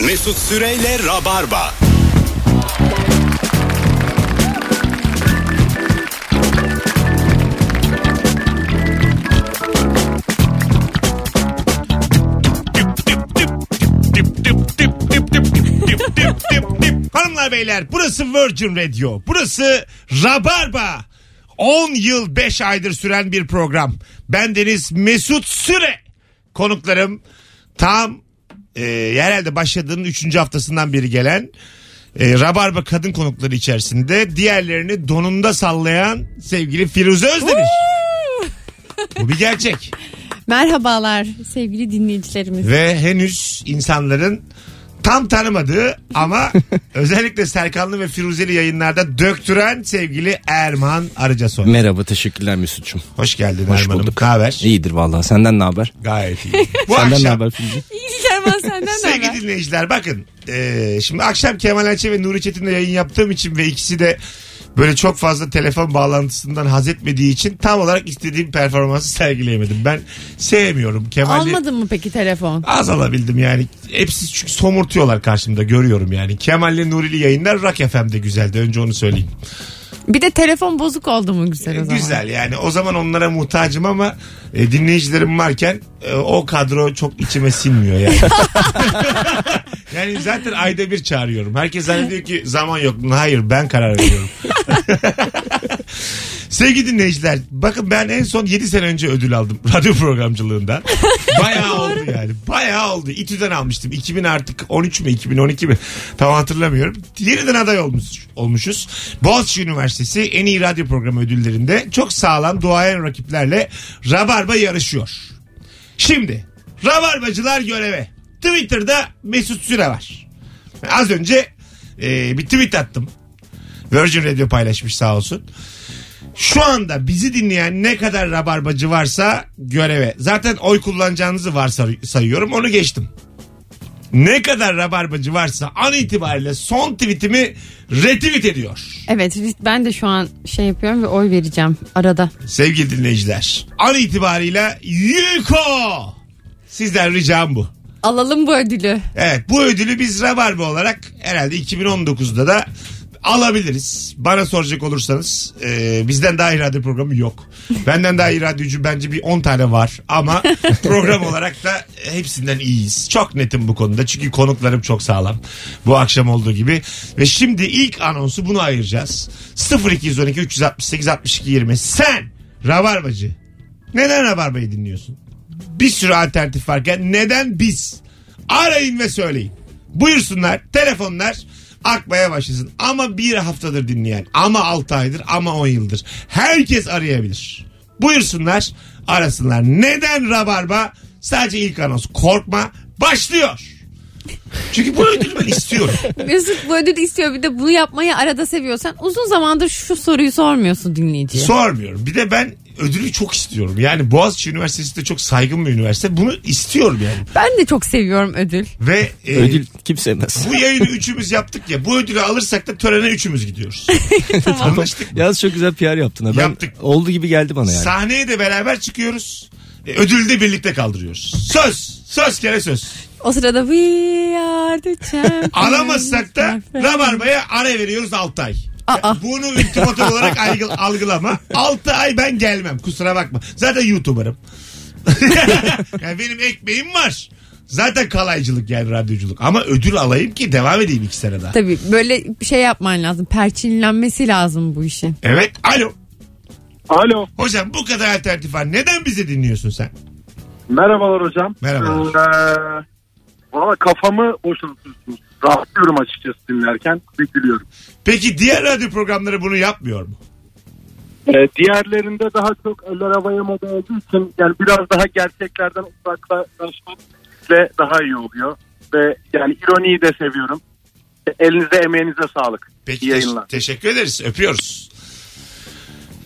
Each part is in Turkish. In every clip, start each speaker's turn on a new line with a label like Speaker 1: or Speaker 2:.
Speaker 1: Mesut Süreyle Rabarba.
Speaker 2: Dip dip dip dip dip dip dip dip dip dip. Hanımlar beyler burası Virgin Radio. Burası Rabarba. 10 yıl 5 aydır süren bir program. Ben Deniz Mesut Süre. Konuklarım tam e, herhalde başladığının 3. haftasından beri gelen e, Rabarba kadın konukları içerisinde diğerlerini donunda sallayan sevgili Firuze Özdemir. Bu bir gerçek.
Speaker 3: Merhabalar sevgili dinleyicilerimiz.
Speaker 2: ve henüz insanların tam tanımadığı ama özellikle Serkanlı ve Firuzeli yayınlarda döktüren sevgili Erman Arıcasoy.
Speaker 4: Merhaba teşekkürler Mesut'cum.
Speaker 2: Hoş geldin
Speaker 4: Hoş
Speaker 2: Erman'ım.
Speaker 4: bulduk.
Speaker 2: Ne haber?
Speaker 4: İyidir vallahi senden ne haber?
Speaker 2: Gayet iyi. Bu
Speaker 4: senden ne
Speaker 2: akşam
Speaker 4: haber Firuze?
Speaker 3: İyilik Erman senden ne
Speaker 2: sevgili
Speaker 3: haber?
Speaker 2: dinleyiciler bakın eee, şimdi akşam Kemal Elçi ve Nuri Çetin'le yayın yaptığım için ve ikisi de böyle çok fazla telefon bağlantısından haz etmediği için tam olarak istediğim performansı sergileyemedim. Ben sevmiyorum Kemal'i.
Speaker 3: Almadın mı peki telefon?
Speaker 2: Az alabildim yani. Hepsi çünkü somurtuyorlar karşımda görüyorum yani. Kemal'le Nurili yayınlar Rock FM'de güzeldi. Önce onu söyleyeyim.
Speaker 3: Bir de telefon bozuk oldu mu güzel o zaman?
Speaker 2: Güzel yani. O zaman onlara muhtacım ama e, dinleyicilerim varken e, o kadro çok içime sinmiyor yani. yani zaten ayda bir çağırıyorum. Herkes zannediyor ki zaman yok. Hayır ben karar veriyorum. Sevgili dinleyiciler bakın ben en son 7 sene önce ödül aldım radyo programcılığından. Bayağı oldu yani. Bayağı oldu. İTÜ'den almıştım. 2000 artık 13 mü 2012 mi tam hatırlamıyorum. Yeniden aday olmuş, olmuşuz. Boğaziçi Üniversitesi en iyi radyo programı ödüllerinde çok sağlam duayen rakiplerle Rabarba yarışıyor. Şimdi Rabarbacılar göreve. Twitter'da Mesut Süre var. Az önce e, bir tweet attım. Virgin Radio paylaşmış sağ olsun. Şu anda bizi dinleyen ne kadar rabarbacı varsa göreve. Zaten oy kullanacağınızı varsayıyorum. Onu geçtim. Ne kadar rabarbacı varsa an itibariyle son tweetimi retweet ediyor.
Speaker 3: Evet ben de şu an şey yapıyorum ve oy vereceğim arada.
Speaker 2: Sevgili dinleyiciler. An itibariyle Yuko. Sizden ricam bu.
Speaker 3: Alalım bu ödülü.
Speaker 2: Evet bu ödülü biz Rabarba olarak herhalde 2019'da da alabiliriz. Bana soracak olursanız e, bizden daha iyi radyo programı yok. Benden daha iyi radyocu bence bir 10 tane var ama program olarak da hepsinden iyiyiz. Çok netim bu konuda çünkü konuklarım çok sağlam. Bu akşam olduğu gibi ve şimdi ilk anonsu bunu ayıracağız. 0212 368 62 20 sen Rabarbacı neden Rabarba'yı dinliyorsun? bir sürü alternatif varken neden biz? Arayın ve söyleyin. Buyursunlar telefonlar akmaya başlasın. Ama bir haftadır dinleyen ama 6 aydır ama 10 yıldır. Herkes arayabilir. Buyursunlar arasınlar. Neden Rabarba? Sadece ilk anons korkma başlıyor. Çünkü bunu ödülü ben istiyorum.
Speaker 3: Mesut bu ödülü istiyor bir de bunu yapmayı arada seviyorsan uzun zamandır şu soruyu sormuyorsun dinleyiciye.
Speaker 2: Sormuyorum. Bir de ben ödülü çok istiyorum. Yani Boğaziçi Üniversitesi de çok saygın bir üniversite. Bunu istiyorum yani.
Speaker 3: ben de çok seviyorum ödül.
Speaker 2: Ve e,
Speaker 4: Ödül kim sevmez?
Speaker 2: Bu yayını üçümüz yaptık ya. Bu ödülü alırsak da törene üçümüz gidiyoruz. Anlaştık mı?
Speaker 4: Yalnız çok güzel PR yaptın ha. Ben,
Speaker 2: Yaptık.
Speaker 4: Oldu gibi geldi bana yani.
Speaker 2: Sahneye de beraber çıkıyoruz. E, ödülü de birlikte kaldırıyoruz. Söz. Söz kere söz.
Speaker 3: O sırada we are the champions.
Speaker 2: Alamazsak da Rabarba'ya ara veriyoruz 6 ay.
Speaker 3: Aa.
Speaker 2: Bunu ultimatum olarak algı- algılama. 6 ay ben gelmem kusura bakma. Zaten YouTuber'ım. yani benim ekmeğim var. Zaten kalaycılık yani radyoculuk. Ama ödül alayım ki devam edeyim 2 sene daha.
Speaker 3: Tabii böyle bir şey yapman lazım. Perçinlenmesi lazım bu işin.
Speaker 2: Evet. Alo.
Speaker 5: Alo.
Speaker 2: Hocam bu kadar alternatif var. Neden bizi dinliyorsun sen?
Speaker 5: Merhabalar hocam.
Speaker 2: Merhabalar.
Speaker 5: Ee, Valla kafamı boşaltıyorsunuz. Rahatlıyorum açıkçası dinlerken ve gülüyorum.
Speaker 2: Peki diğer radyo programları bunu yapmıyor mu?
Speaker 5: Ee, diğerlerinde daha çok eller havaya moda olduğu için yani biraz daha gerçeklerden uzaklaşmak ve daha iyi oluyor. Ve yani ironiyi de seviyorum. Elinize emeğinize sağlık.
Speaker 2: Peki
Speaker 5: İyi
Speaker 2: te-
Speaker 5: yayınlar.
Speaker 2: teşekkür ederiz. Öpüyoruz.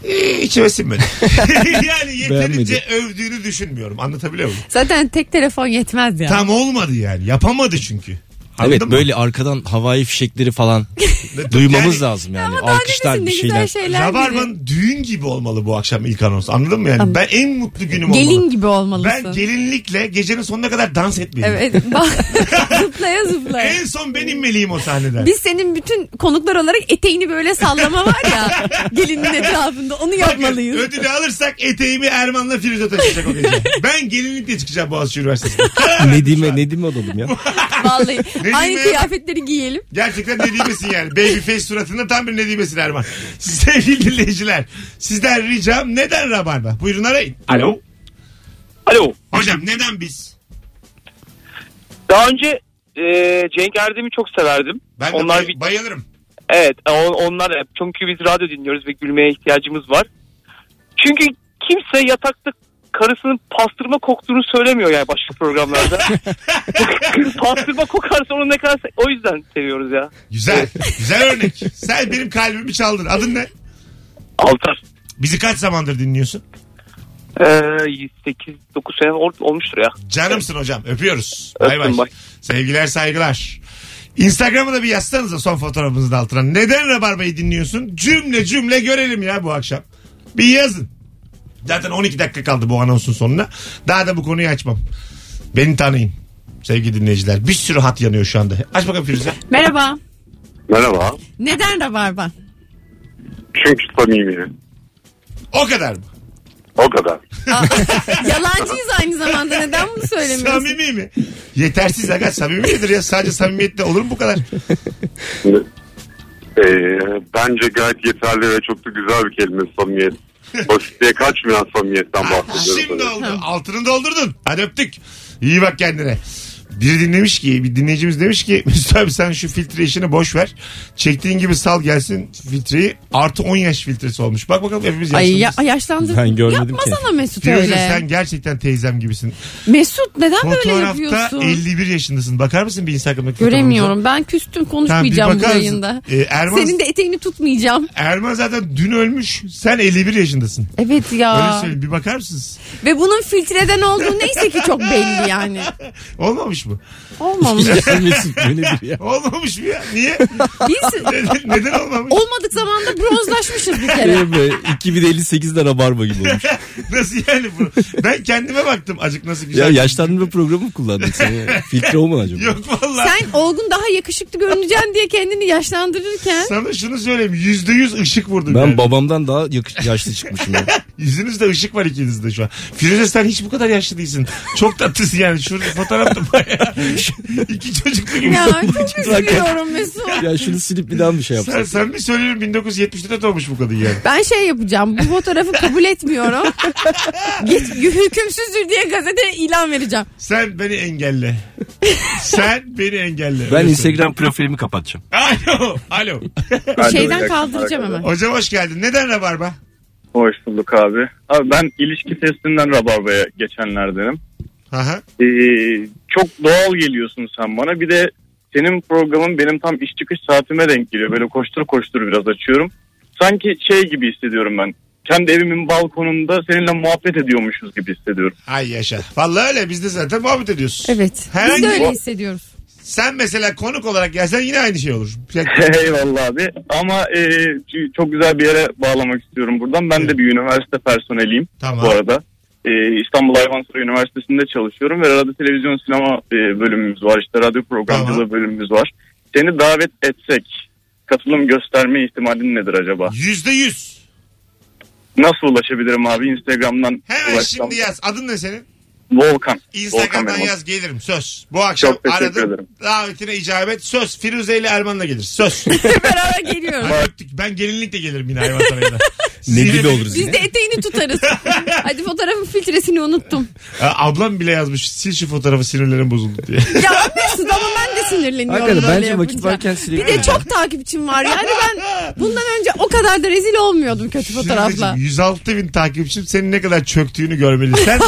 Speaker 2: Ee, içime sinmedi. yani yeterince
Speaker 4: Beğenmedi.
Speaker 2: övdüğünü düşünmüyorum. Anlatabiliyor muyum?
Speaker 3: Zaten tek telefon yetmez ya.
Speaker 2: Tam olmadı yani. Yapamadı çünkü. Anladın
Speaker 4: evet
Speaker 2: mı?
Speaker 4: böyle arkadan havai fişekleri falan
Speaker 2: Yani
Speaker 4: duymamız lazım yani.
Speaker 3: Ama daha
Speaker 4: Alkışlar
Speaker 3: ne
Speaker 4: bir
Speaker 3: güzel
Speaker 4: şeyler.
Speaker 3: Hani şeyler. dedi.
Speaker 2: Rabarbanın düğün gibi olmalı bu akşam ilk anons. Anladın mı yani? Ben en mutlu günüm
Speaker 3: Gelin
Speaker 2: olmalı.
Speaker 3: gibi olmalısın.
Speaker 2: Ben gelinlikle gecenin sonuna kadar dans etmeyeyim.
Speaker 3: Evet. Bak, zıplaya zıplaya. vallahi.
Speaker 2: En son ben inmeliyim o sahneden.
Speaker 3: Biz senin bütün konuklar olarak eteğini böyle sallama var ya gelinin etrafında onu yapmalıyız.
Speaker 2: Ödülü alırsak eteğimi Erman'la Firuze taşıyacak o gece. Ben gelinlikle çıkacağım Boğaziçi Üniversitesi'ne. Karar
Speaker 3: şey
Speaker 2: verdim şu
Speaker 4: Nedim'e
Speaker 2: an.
Speaker 4: Nedim'e olalım ya.
Speaker 3: Vallahi
Speaker 2: diyeyim
Speaker 3: aynı
Speaker 2: ya?
Speaker 3: kıyafetleri giyelim.
Speaker 2: Gerçekten nedimesin yani. Baby face suratında tam bir nedimesin Erman. Sevgili dinleyiciler. Sizden ricam neden rabarba? Buyurun arayın.
Speaker 6: Alo. Alo.
Speaker 2: Hocam neden biz?
Speaker 6: Daha önce e, Cenk Erdem'i çok severdim.
Speaker 2: Ben de
Speaker 6: onlar
Speaker 2: bay-
Speaker 6: bir-
Speaker 2: bayılırım.
Speaker 6: evet e, on- onlar çünkü biz radyo dinliyoruz ve gülmeye ihtiyacımız var. Çünkü kimse yatakta karısının pastırma koktuğunu söylemiyor yani başka programlarda. pastırma kokarsa onu ne kadar se- o yüzden seviyoruz ya.
Speaker 2: Güzel. Güzel örnek. Sen benim kalbimi çaldın. Adın ne?
Speaker 6: Altar.
Speaker 2: Bizi kaç zamandır dinliyorsun?
Speaker 6: Ee, 8-9 sene ol- olmuştur ya.
Speaker 2: Canımsın hocam. Öpüyoruz. Bay
Speaker 6: Öptüm,
Speaker 2: bay.
Speaker 6: bay.
Speaker 2: Sevgiler saygılar. Instagram'a da bir yazsanıza son fotoğrafınızın altına. Neden Rabarba'yı dinliyorsun? Cümle cümle görelim ya bu akşam. Bir yazın. Zaten 12 dakika kaldı bu anonsun sonuna. Daha da bu konuyu açmam. Beni tanıyın. Sevgili dinleyiciler. Bir sürü hat yanıyor şu anda. Aç bakalım Firuze.
Speaker 3: Merhaba.
Speaker 7: Merhaba.
Speaker 3: Neden rabarba?
Speaker 7: Çünkü samimi.
Speaker 2: O kadar mı?
Speaker 7: O kadar.
Speaker 3: Aa, Yalancıyız aynı zamanda neden bunu söylemiyorsun?
Speaker 2: Samimi mi? Yetersiz aga samimidir ya. Sadece samimiyetle olur mu bu kadar?
Speaker 7: Ee, bence gayet yeterli ve çok da güzel bir kelime samimiyet. Basitliğe kaçmayan samimiyetten bahsediyoruz.
Speaker 2: Şimdi oldu. Altını doldurdun. Hadi öptük. İyi bak kendine. Bir dinlemiş ki bir dinleyicimiz demiş ki Mesut abi sen şu filtre işini boş ver. Çektiğin gibi sal gelsin filtreyi. Artı 10 yaş filtresi olmuş. Bak bakalım hepimiz
Speaker 3: Ay
Speaker 2: yaşlıyız.
Speaker 3: ya, yaşlandın.
Speaker 4: Ben görmedim
Speaker 3: Yapma
Speaker 4: ki.
Speaker 3: sana Mesut
Speaker 2: Firuze,
Speaker 3: öyle.
Speaker 2: sen gerçekten teyzem gibisin.
Speaker 3: Mesut neden böyle
Speaker 2: Fotoğrafta
Speaker 3: yapıyorsun?
Speaker 2: 51 yaşındasın. Bakar mısın bir Instagram'daki
Speaker 3: Göremiyorum. Ben küstüm konuşmayacağım
Speaker 2: Ha, bir
Speaker 3: bu
Speaker 2: bakarsın.
Speaker 3: yayında.
Speaker 2: Ee, Erman-
Speaker 3: Senin de eteğini tutmayacağım.
Speaker 2: fotoğrafımıza? Erman zaten dün ölmüş. Sen 51 yaşındasın.
Speaker 3: Evet
Speaker 2: Öyle
Speaker 3: ya.
Speaker 2: söyleyeyim. Bir bakar mısınız?
Speaker 3: Ve bunun filtreden olduğu neyse ki çok belli yani.
Speaker 2: Olmamış mı?
Speaker 3: Olmamış.
Speaker 4: Mesut böyle bir ya.
Speaker 2: Olmamış mı ya? Niye?
Speaker 3: Biz
Speaker 2: neden, neden olmamış?
Speaker 3: olmadık zamanda bronzlaşmışız bir kere.
Speaker 4: Şey böyle 2058'de rabarba gibi olmuş.
Speaker 2: Nasıl yani bu? Ben kendime baktım acık nasıl güzel.
Speaker 4: Ya yaşlanma programı mı kullandın sen? ya? Filtre o mu acaba?
Speaker 2: Yok vallahi.
Speaker 3: Sen olgun daha yakışıklı görüneceksin diye kendini yaşlandırırken
Speaker 2: Sana şunu söyleyeyim. Yüzde yüz ışık vurdum.
Speaker 4: Ben
Speaker 2: yani.
Speaker 4: babamdan daha yakış- yaşlı çıkmışım ya.
Speaker 2: Yüzünüzde ışık var ikinizde şu an. Firuze sen hiç bu kadar yaşlı değilsin. Çok tatlısın yani. Şurada fotoğrafta bayağı. İki çocuklu gibi.
Speaker 3: ya çok üzülüyorum Mesut.
Speaker 4: Ya şunu silip bir daha mı şey
Speaker 2: Sen,
Speaker 4: yapsak?
Speaker 2: sen bir söylerim 1974'te doğmuş bu kadın yani.
Speaker 3: Ben şey yapacağım. Bu fotoğrafı kabul etmiyorum. Git hükümsüzdür diye gazeteye ilan vereceğim.
Speaker 2: Sen beni engelle. sen beni engelle.
Speaker 4: Ben
Speaker 2: Öyle
Speaker 4: Instagram profilimi kapatacağım.
Speaker 2: söyleyeyim. Alo. Alo.
Speaker 3: Şeyden kaldıracağım hemen.
Speaker 2: Hocam hoş geldin. Neden rabarba?
Speaker 8: Hoş bulduk abi. Abi ben ilişki testinden Rabarba'ya geçenlerdenim.
Speaker 2: Aha.
Speaker 8: Ee, çok doğal geliyorsun sen bana. Bir de senin programın benim tam iş çıkış saatime denk geliyor. Böyle koştur koştur biraz açıyorum. Sanki şey gibi hissediyorum ben. Kendi evimin balkonunda seninle muhabbet ediyormuşuz gibi hissediyorum.
Speaker 2: Ay yaşa. Vallahi öyle biz de zaten muhabbet ediyoruz.
Speaker 3: Evet. Biz
Speaker 2: Herhangi-
Speaker 3: de öyle hissediyoruz.
Speaker 2: Sen mesela konuk olarak gelsen yine aynı şey olur. Ya-
Speaker 8: Eyvallah abi. Ama e, çok güzel bir yere bağlamak istiyorum buradan. Ben de bir üniversite personeliyim.
Speaker 2: Tamam.
Speaker 8: bu arada. Ee, İstanbul Hayvansaray Üniversitesi'nde çalışıyorum ve arada televizyon sinema e, bölümümüz var. İşte radyo programcılığı
Speaker 2: Tamam.
Speaker 8: bölümümüz var. Seni davet etsek katılım gösterme ihtimalin nedir acaba?
Speaker 2: Yüzde yüz.
Speaker 8: Nasıl ulaşabilirim abi Instagram'dan?
Speaker 2: Hemen
Speaker 8: ulaşsam?
Speaker 2: şimdi yaz. Adın ne senin?
Speaker 8: Volkan. Volkan
Speaker 2: Instagram'dan
Speaker 8: Memo.
Speaker 2: yaz gelirim söz. Bu akşam
Speaker 8: Çok teşekkür
Speaker 2: aradım.
Speaker 8: ederim.
Speaker 2: Davetine icabet söz. Firuze ile Erman'la gelir. Söz.
Speaker 3: Beraber geliyoruz.
Speaker 2: Hadi öptük. ben gelinlikle gelirim yine hayvansarayda.
Speaker 4: Ne
Speaker 2: Sinirli-
Speaker 4: gibi oluruz
Speaker 3: Biz de eteğini tutarız. Hadi fotoğrafın filtresini unuttum.
Speaker 2: Aa, ablam bile yazmış. Sil şu fotoğrafı sinirlerim bozuldu diye.
Speaker 3: Ya Mesut ama ben de sinirleniyorum.
Speaker 4: Hakikaten
Speaker 3: böyle
Speaker 4: bence vakit
Speaker 3: yapınca.
Speaker 4: varken
Speaker 3: Bir
Speaker 4: silebilirim
Speaker 3: de
Speaker 4: yani.
Speaker 3: çok takipçim var. Yani ben bundan önce o kadar da rezil olmuyordum kötü fotoğrafla.
Speaker 2: Firuzeciğim, 106 bin takipçim senin ne kadar çöktüğünü görmeli. Sen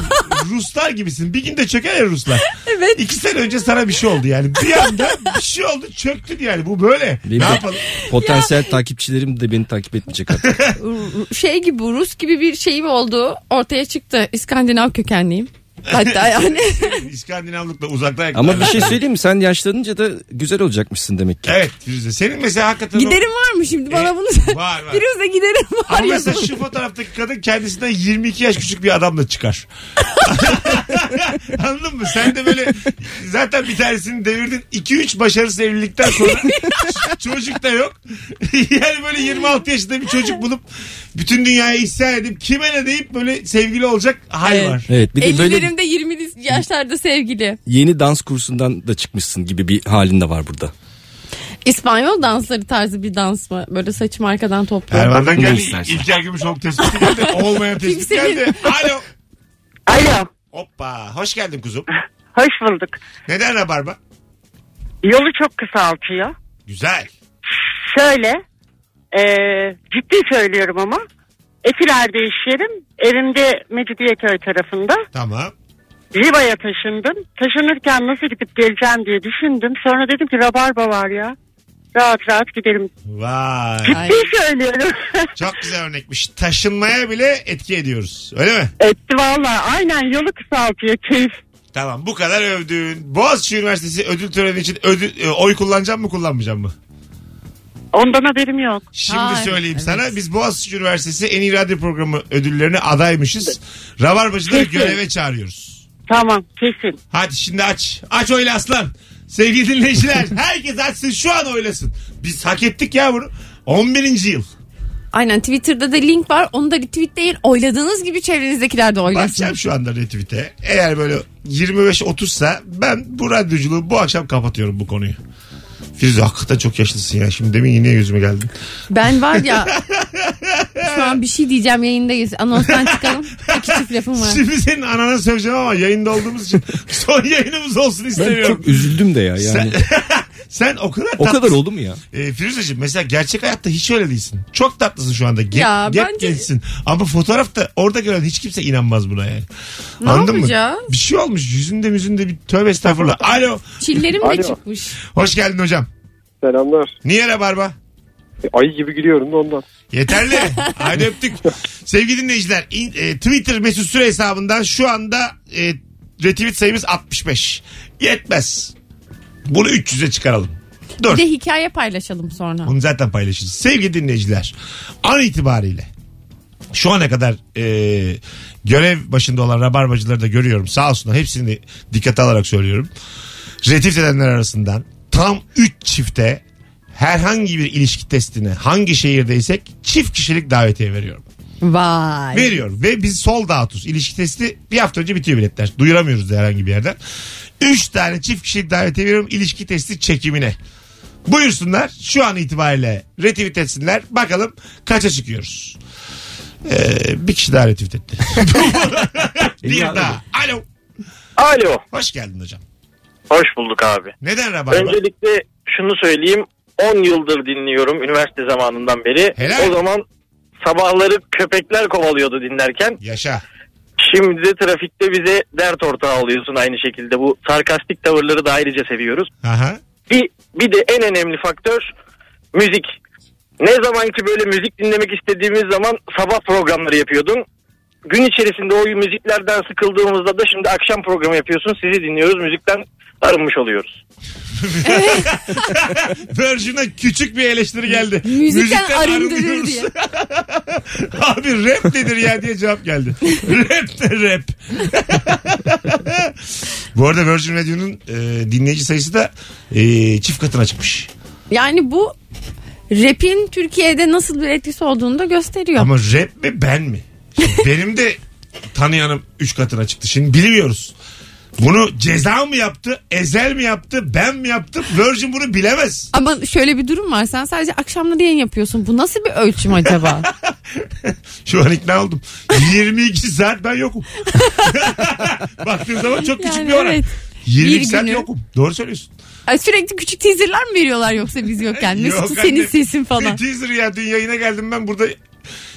Speaker 2: Ruslar gibisin. Bir günde çöker ya Ruslar.
Speaker 3: Evet.
Speaker 2: İki sene önce sana bir şey oldu yani. Bir anda bir şey oldu çöktün yani. Bu böyle.
Speaker 4: Benim
Speaker 2: ne
Speaker 4: de-
Speaker 2: yapalım?
Speaker 4: Potansiyel takipçilerim de beni takip etmeyecek artık.
Speaker 3: Şey gibi Rus gibi bir şeyim olduğu ortaya çıktı. İskandinav kökenliyim. Hatta yani.
Speaker 2: İskandinavlıkla uzaktan
Speaker 4: Ama bir şey söyleyeyim mi? Sen yaşlanınca da güzel olacakmışsın demek ki.
Speaker 2: Evet Firuze. Senin mesela hakikaten... o-
Speaker 3: giderim var mı şimdi
Speaker 4: E,
Speaker 3: bana bunu?
Speaker 2: var, var.
Speaker 3: Firuze giderim var.
Speaker 2: Ama
Speaker 3: ya.
Speaker 2: mesela şu fotoğraftaki kadın kendisinden 22 yaş küçük bir adamla çıkar. Anladın mı? Sen de böyle zaten bir tanesini devirdin. 2-3 başarısız evlilikten sonra çocuk da yok. yani böyle 26 yaşında bir çocuk bulup bütün dünyaya ihsan edip kime ne deyip böyle sevgili olacak hay
Speaker 3: Evet.
Speaker 2: var.
Speaker 4: Evet bir de böyle
Speaker 3: 50'lerimde 20'li yaşlarda sevgili.
Speaker 4: yeni dans kursundan da çıkmışsın gibi bir halin de var burada.
Speaker 3: İspanyol dansları tarzı bir dans mı? Böyle saçımı arkadan topluyorum.
Speaker 2: Erman'dan geldi.
Speaker 4: istersen.
Speaker 2: İlker Gümüşoluk tespiti geldi. Olmayan tespit
Speaker 3: Kimsenin-
Speaker 2: geldi. Alo.
Speaker 9: Alo,
Speaker 2: Hoppa. Hoş geldin kuzum.
Speaker 9: hoş bulduk.
Speaker 2: Neden rabarba?
Speaker 9: Yolu çok kısaltıyor.
Speaker 2: Güzel.
Speaker 9: Şöyle, e, ciddi söylüyorum ama Etiler'de iş yerim. Evimde Mecidiyeköy tarafında.
Speaker 2: Tamam.
Speaker 9: Riva'ya taşındım. Taşınırken nasıl gidip geleceğim diye düşündüm. Sonra dedim ki rabarba var ya. Rahat rahat gidelim.
Speaker 2: Vay.
Speaker 3: Ay.
Speaker 9: Ciddi söylüyorum.
Speaker 2: Çok güzel örnekmiş. Taşınmaya bile etki ediyoruz. Öyle mi?
Speaker 9: Etti valla. Aynen yolu kısaltıyor. Keyif.
Speaker 2: Tamam bu kadar övdün. Boğaziçi Üniversitesi ödül töreni için ödül, e, oy kullanacağım mı kullanmayacağım mı?
Speaker 9: Ondan haberim yok.
Speaker 2: Şimdi
Speaker 3: Ay,
Speaker 2: söyleyeyim
Speaker 3: evet.
Speaker 2: sana. Biz Boğaziçi Üniversitesi en iyi radyo programı ödüllerine adaymışız. Rabarbacıları
Speaker 9: Kesin.
Speaker 2: göreve çağırıyoruz.
Speaker 9: Tamam kesin.
Speaker 2: Hadi şimdi aç. Aç oyla aslan. Sevgili dinleyiciler herkes açsın şu an oylasın. Biz hak ettik ya bunu. 11. yıl.
Speaker 3: Aynen Twitter'da da link var. Onu da retweetleyin. Oyladığınız gibi çevrenizdekiler de oylasın.
Speaker 2: Bakacağım şu anda retweet'e. Eğer böyle 25-30 sa ben bu radyoculuğu bu akşam kapatıyorum bu konuyu. Firuze hakikaten çok yaşlısın ya. Şimdi demin yine yüzüme geldin.
Speaker 3: Ben var ya şu an bir şey diyeceğim yayındayız. Anonstan çıkalım. İki çift lafım var.
Speaker 2: Şimdi senin anana söyleyeceğim ama yayında olduğumuz için son yayınımız olsun
Speaker 4: Ben
Speaker 2: istemiyorum.
Speaker 4: çok üzüldüm de ya yani.
Speaker 2: Sen o kadar
Speaker 4: o
Speaker 2: tatlısın.
Speaker 4: kadar oldu mu ya?
Speaker 2: Ee, Firuzeciğim mesela gerçek hayatta hiç öyle değilsin. Çok tatlısın şu anda. Gep,
Speaker 3: Ya
Speaker 2: gep
Speaker 3: bence-
Speaker 2: gençsin. Ama fotoğrafta orada gören hiç kimse inanmaz buna yani.
Speaker 3: Ne yapacağız?
Speaker 2: mı? Bir şey olmuş. Yüzünde müzünde bir tövbe estağfurullah. Alo.
Speaker 3: Çillerim de
Speaker 5: Alo.
Speaker 3: çıkmış.
Speaker 2: Hoş geldin hocam.
Speaker 5: Selamlar.
Speaker 2: Niye rabarba?
Speaker 5: Ayı gibi gülüyorum da ondan.
Speaker 2: Yeterli. Haydi öptük. Sevgili dinleyiciler in- e, Twitter mesut süre hesabından şu anda e, retweet sayımız 65. Yetmez. Bunu 300'e çıkaralım. Dur.
Speaker 3: Bir de hikaye paylaşalım sonra.
Speaker 2: Bunu zaten paylaşırız. Sevgili dinleyiciler an itibariyle şu ana kadar e, görev başında olan rabarbacıları da görüyorum. Sağ olsunlar hepsini dikkate alarak söylüyorum. Retweet edenler arasından tam 3 çifte herhangi bir ilişki testine hangi şehirdeysek çift kişilik davetiye veriyorum.
Speaker 3: Vay.
Speaker 2: Veriyor ve biz sol dağıtıyoruz. İlişki testi bir hafta önce bitiyor biletler. Duyuramıyoruz da herhangi bir yerden. Üç tane çift kişilik davetiye veriyorum ilişki testi çekimine. Buyursunlar şu an itibariyle retweet etsinler. Bakalım kaça çıkıyoruz. Ee, bir kişi daha retweet etti. bir daha. Alo.
Speaker 8: Alo.
Speaker 2: Hoş geldin hocam.
Speaker 8: Hoş bulduk abi.
Speaker 2: Neden rabarba?
Speaker 8: Öncelikle şunu söyleyeyim. 10 yıldır dinliyorum üniversite zamanından beri.
Speaker 2: Helal.
Speaker 8: O zaman sabahları köpekler kovalıyordu dinlerken.
Speaker 2: Yaşa.
Speaker 8: Şimdi de trafikte bize dert ortağı oluyorsun aynı şekilde. Bu sarkastik tavırları da ayrıca seviyoruz.
Speaker 2: Aha.
Speaker 8: Bir, bir de en önemli faktör müzik. Ne zaman ki böyle müzik dinlemek istediğimiz zaman sabah programları yapıyordun. Gün içerisinde o müziklerden sıkıldığımızda da şimdi akşam programı yapıyorsun. Sizi dinliyoruz müzikten arınmış oluyoruz.
Speaker 2: Virgin'e küçük bir eleştiri geldi.
Speaker 3: Müzikten arındırır
Speaker 2: arınıyoruz.
Speaker 3: diye.
Speaker 2: Abi rap nedir ya diye cevap geldi. rap de rap. Bu arada Virgin Radio'nun e, dinleyici sayısı da e, çift katına çıkmış.
Speaker 3: Yani bu rap'in Türkiye'de nasıl bir etkisi olduğunu da gösteriyor.
Speaker 2: Ama rap mi ben mi? Şimdi benim de tanıyanım 3 katına çıktı. Şimdi bilmiyoruz. Bunu ceza mı yaptı? Ezel mi yaptı? Ben mi yaptım? Virgin bunu bilemez.
Speaker 3: Ama şöyle bir durum var. Sen sadece akşamları yayın yapıyorsun. Bu nasıl bir ölçüm acaba?
Speaker 2: Şu an ikna oldum. 22 saat ben yokum. Baktığın zaman çok küçük
Speaker 3: Yani
Speaker 2: bir oran.
Speaker 3: evet.
Speaker 2: 22
Speaker 3: Bir
Speaker 2: saat
Speaker 3: günü.
Speaker 2: yokum. Doğru söylüyorsun.
Speaker 3: Ay sürekli küçük teaserlar mı veriyorlar yoksa biz yokken? Mesut'un
Speaker 2: Yok anne.
Speaker 3: senin sesin
Speaker 2: Bir
Speaker 3: falan.
Speaker 2: teaser ya dün yayına geldim ben burada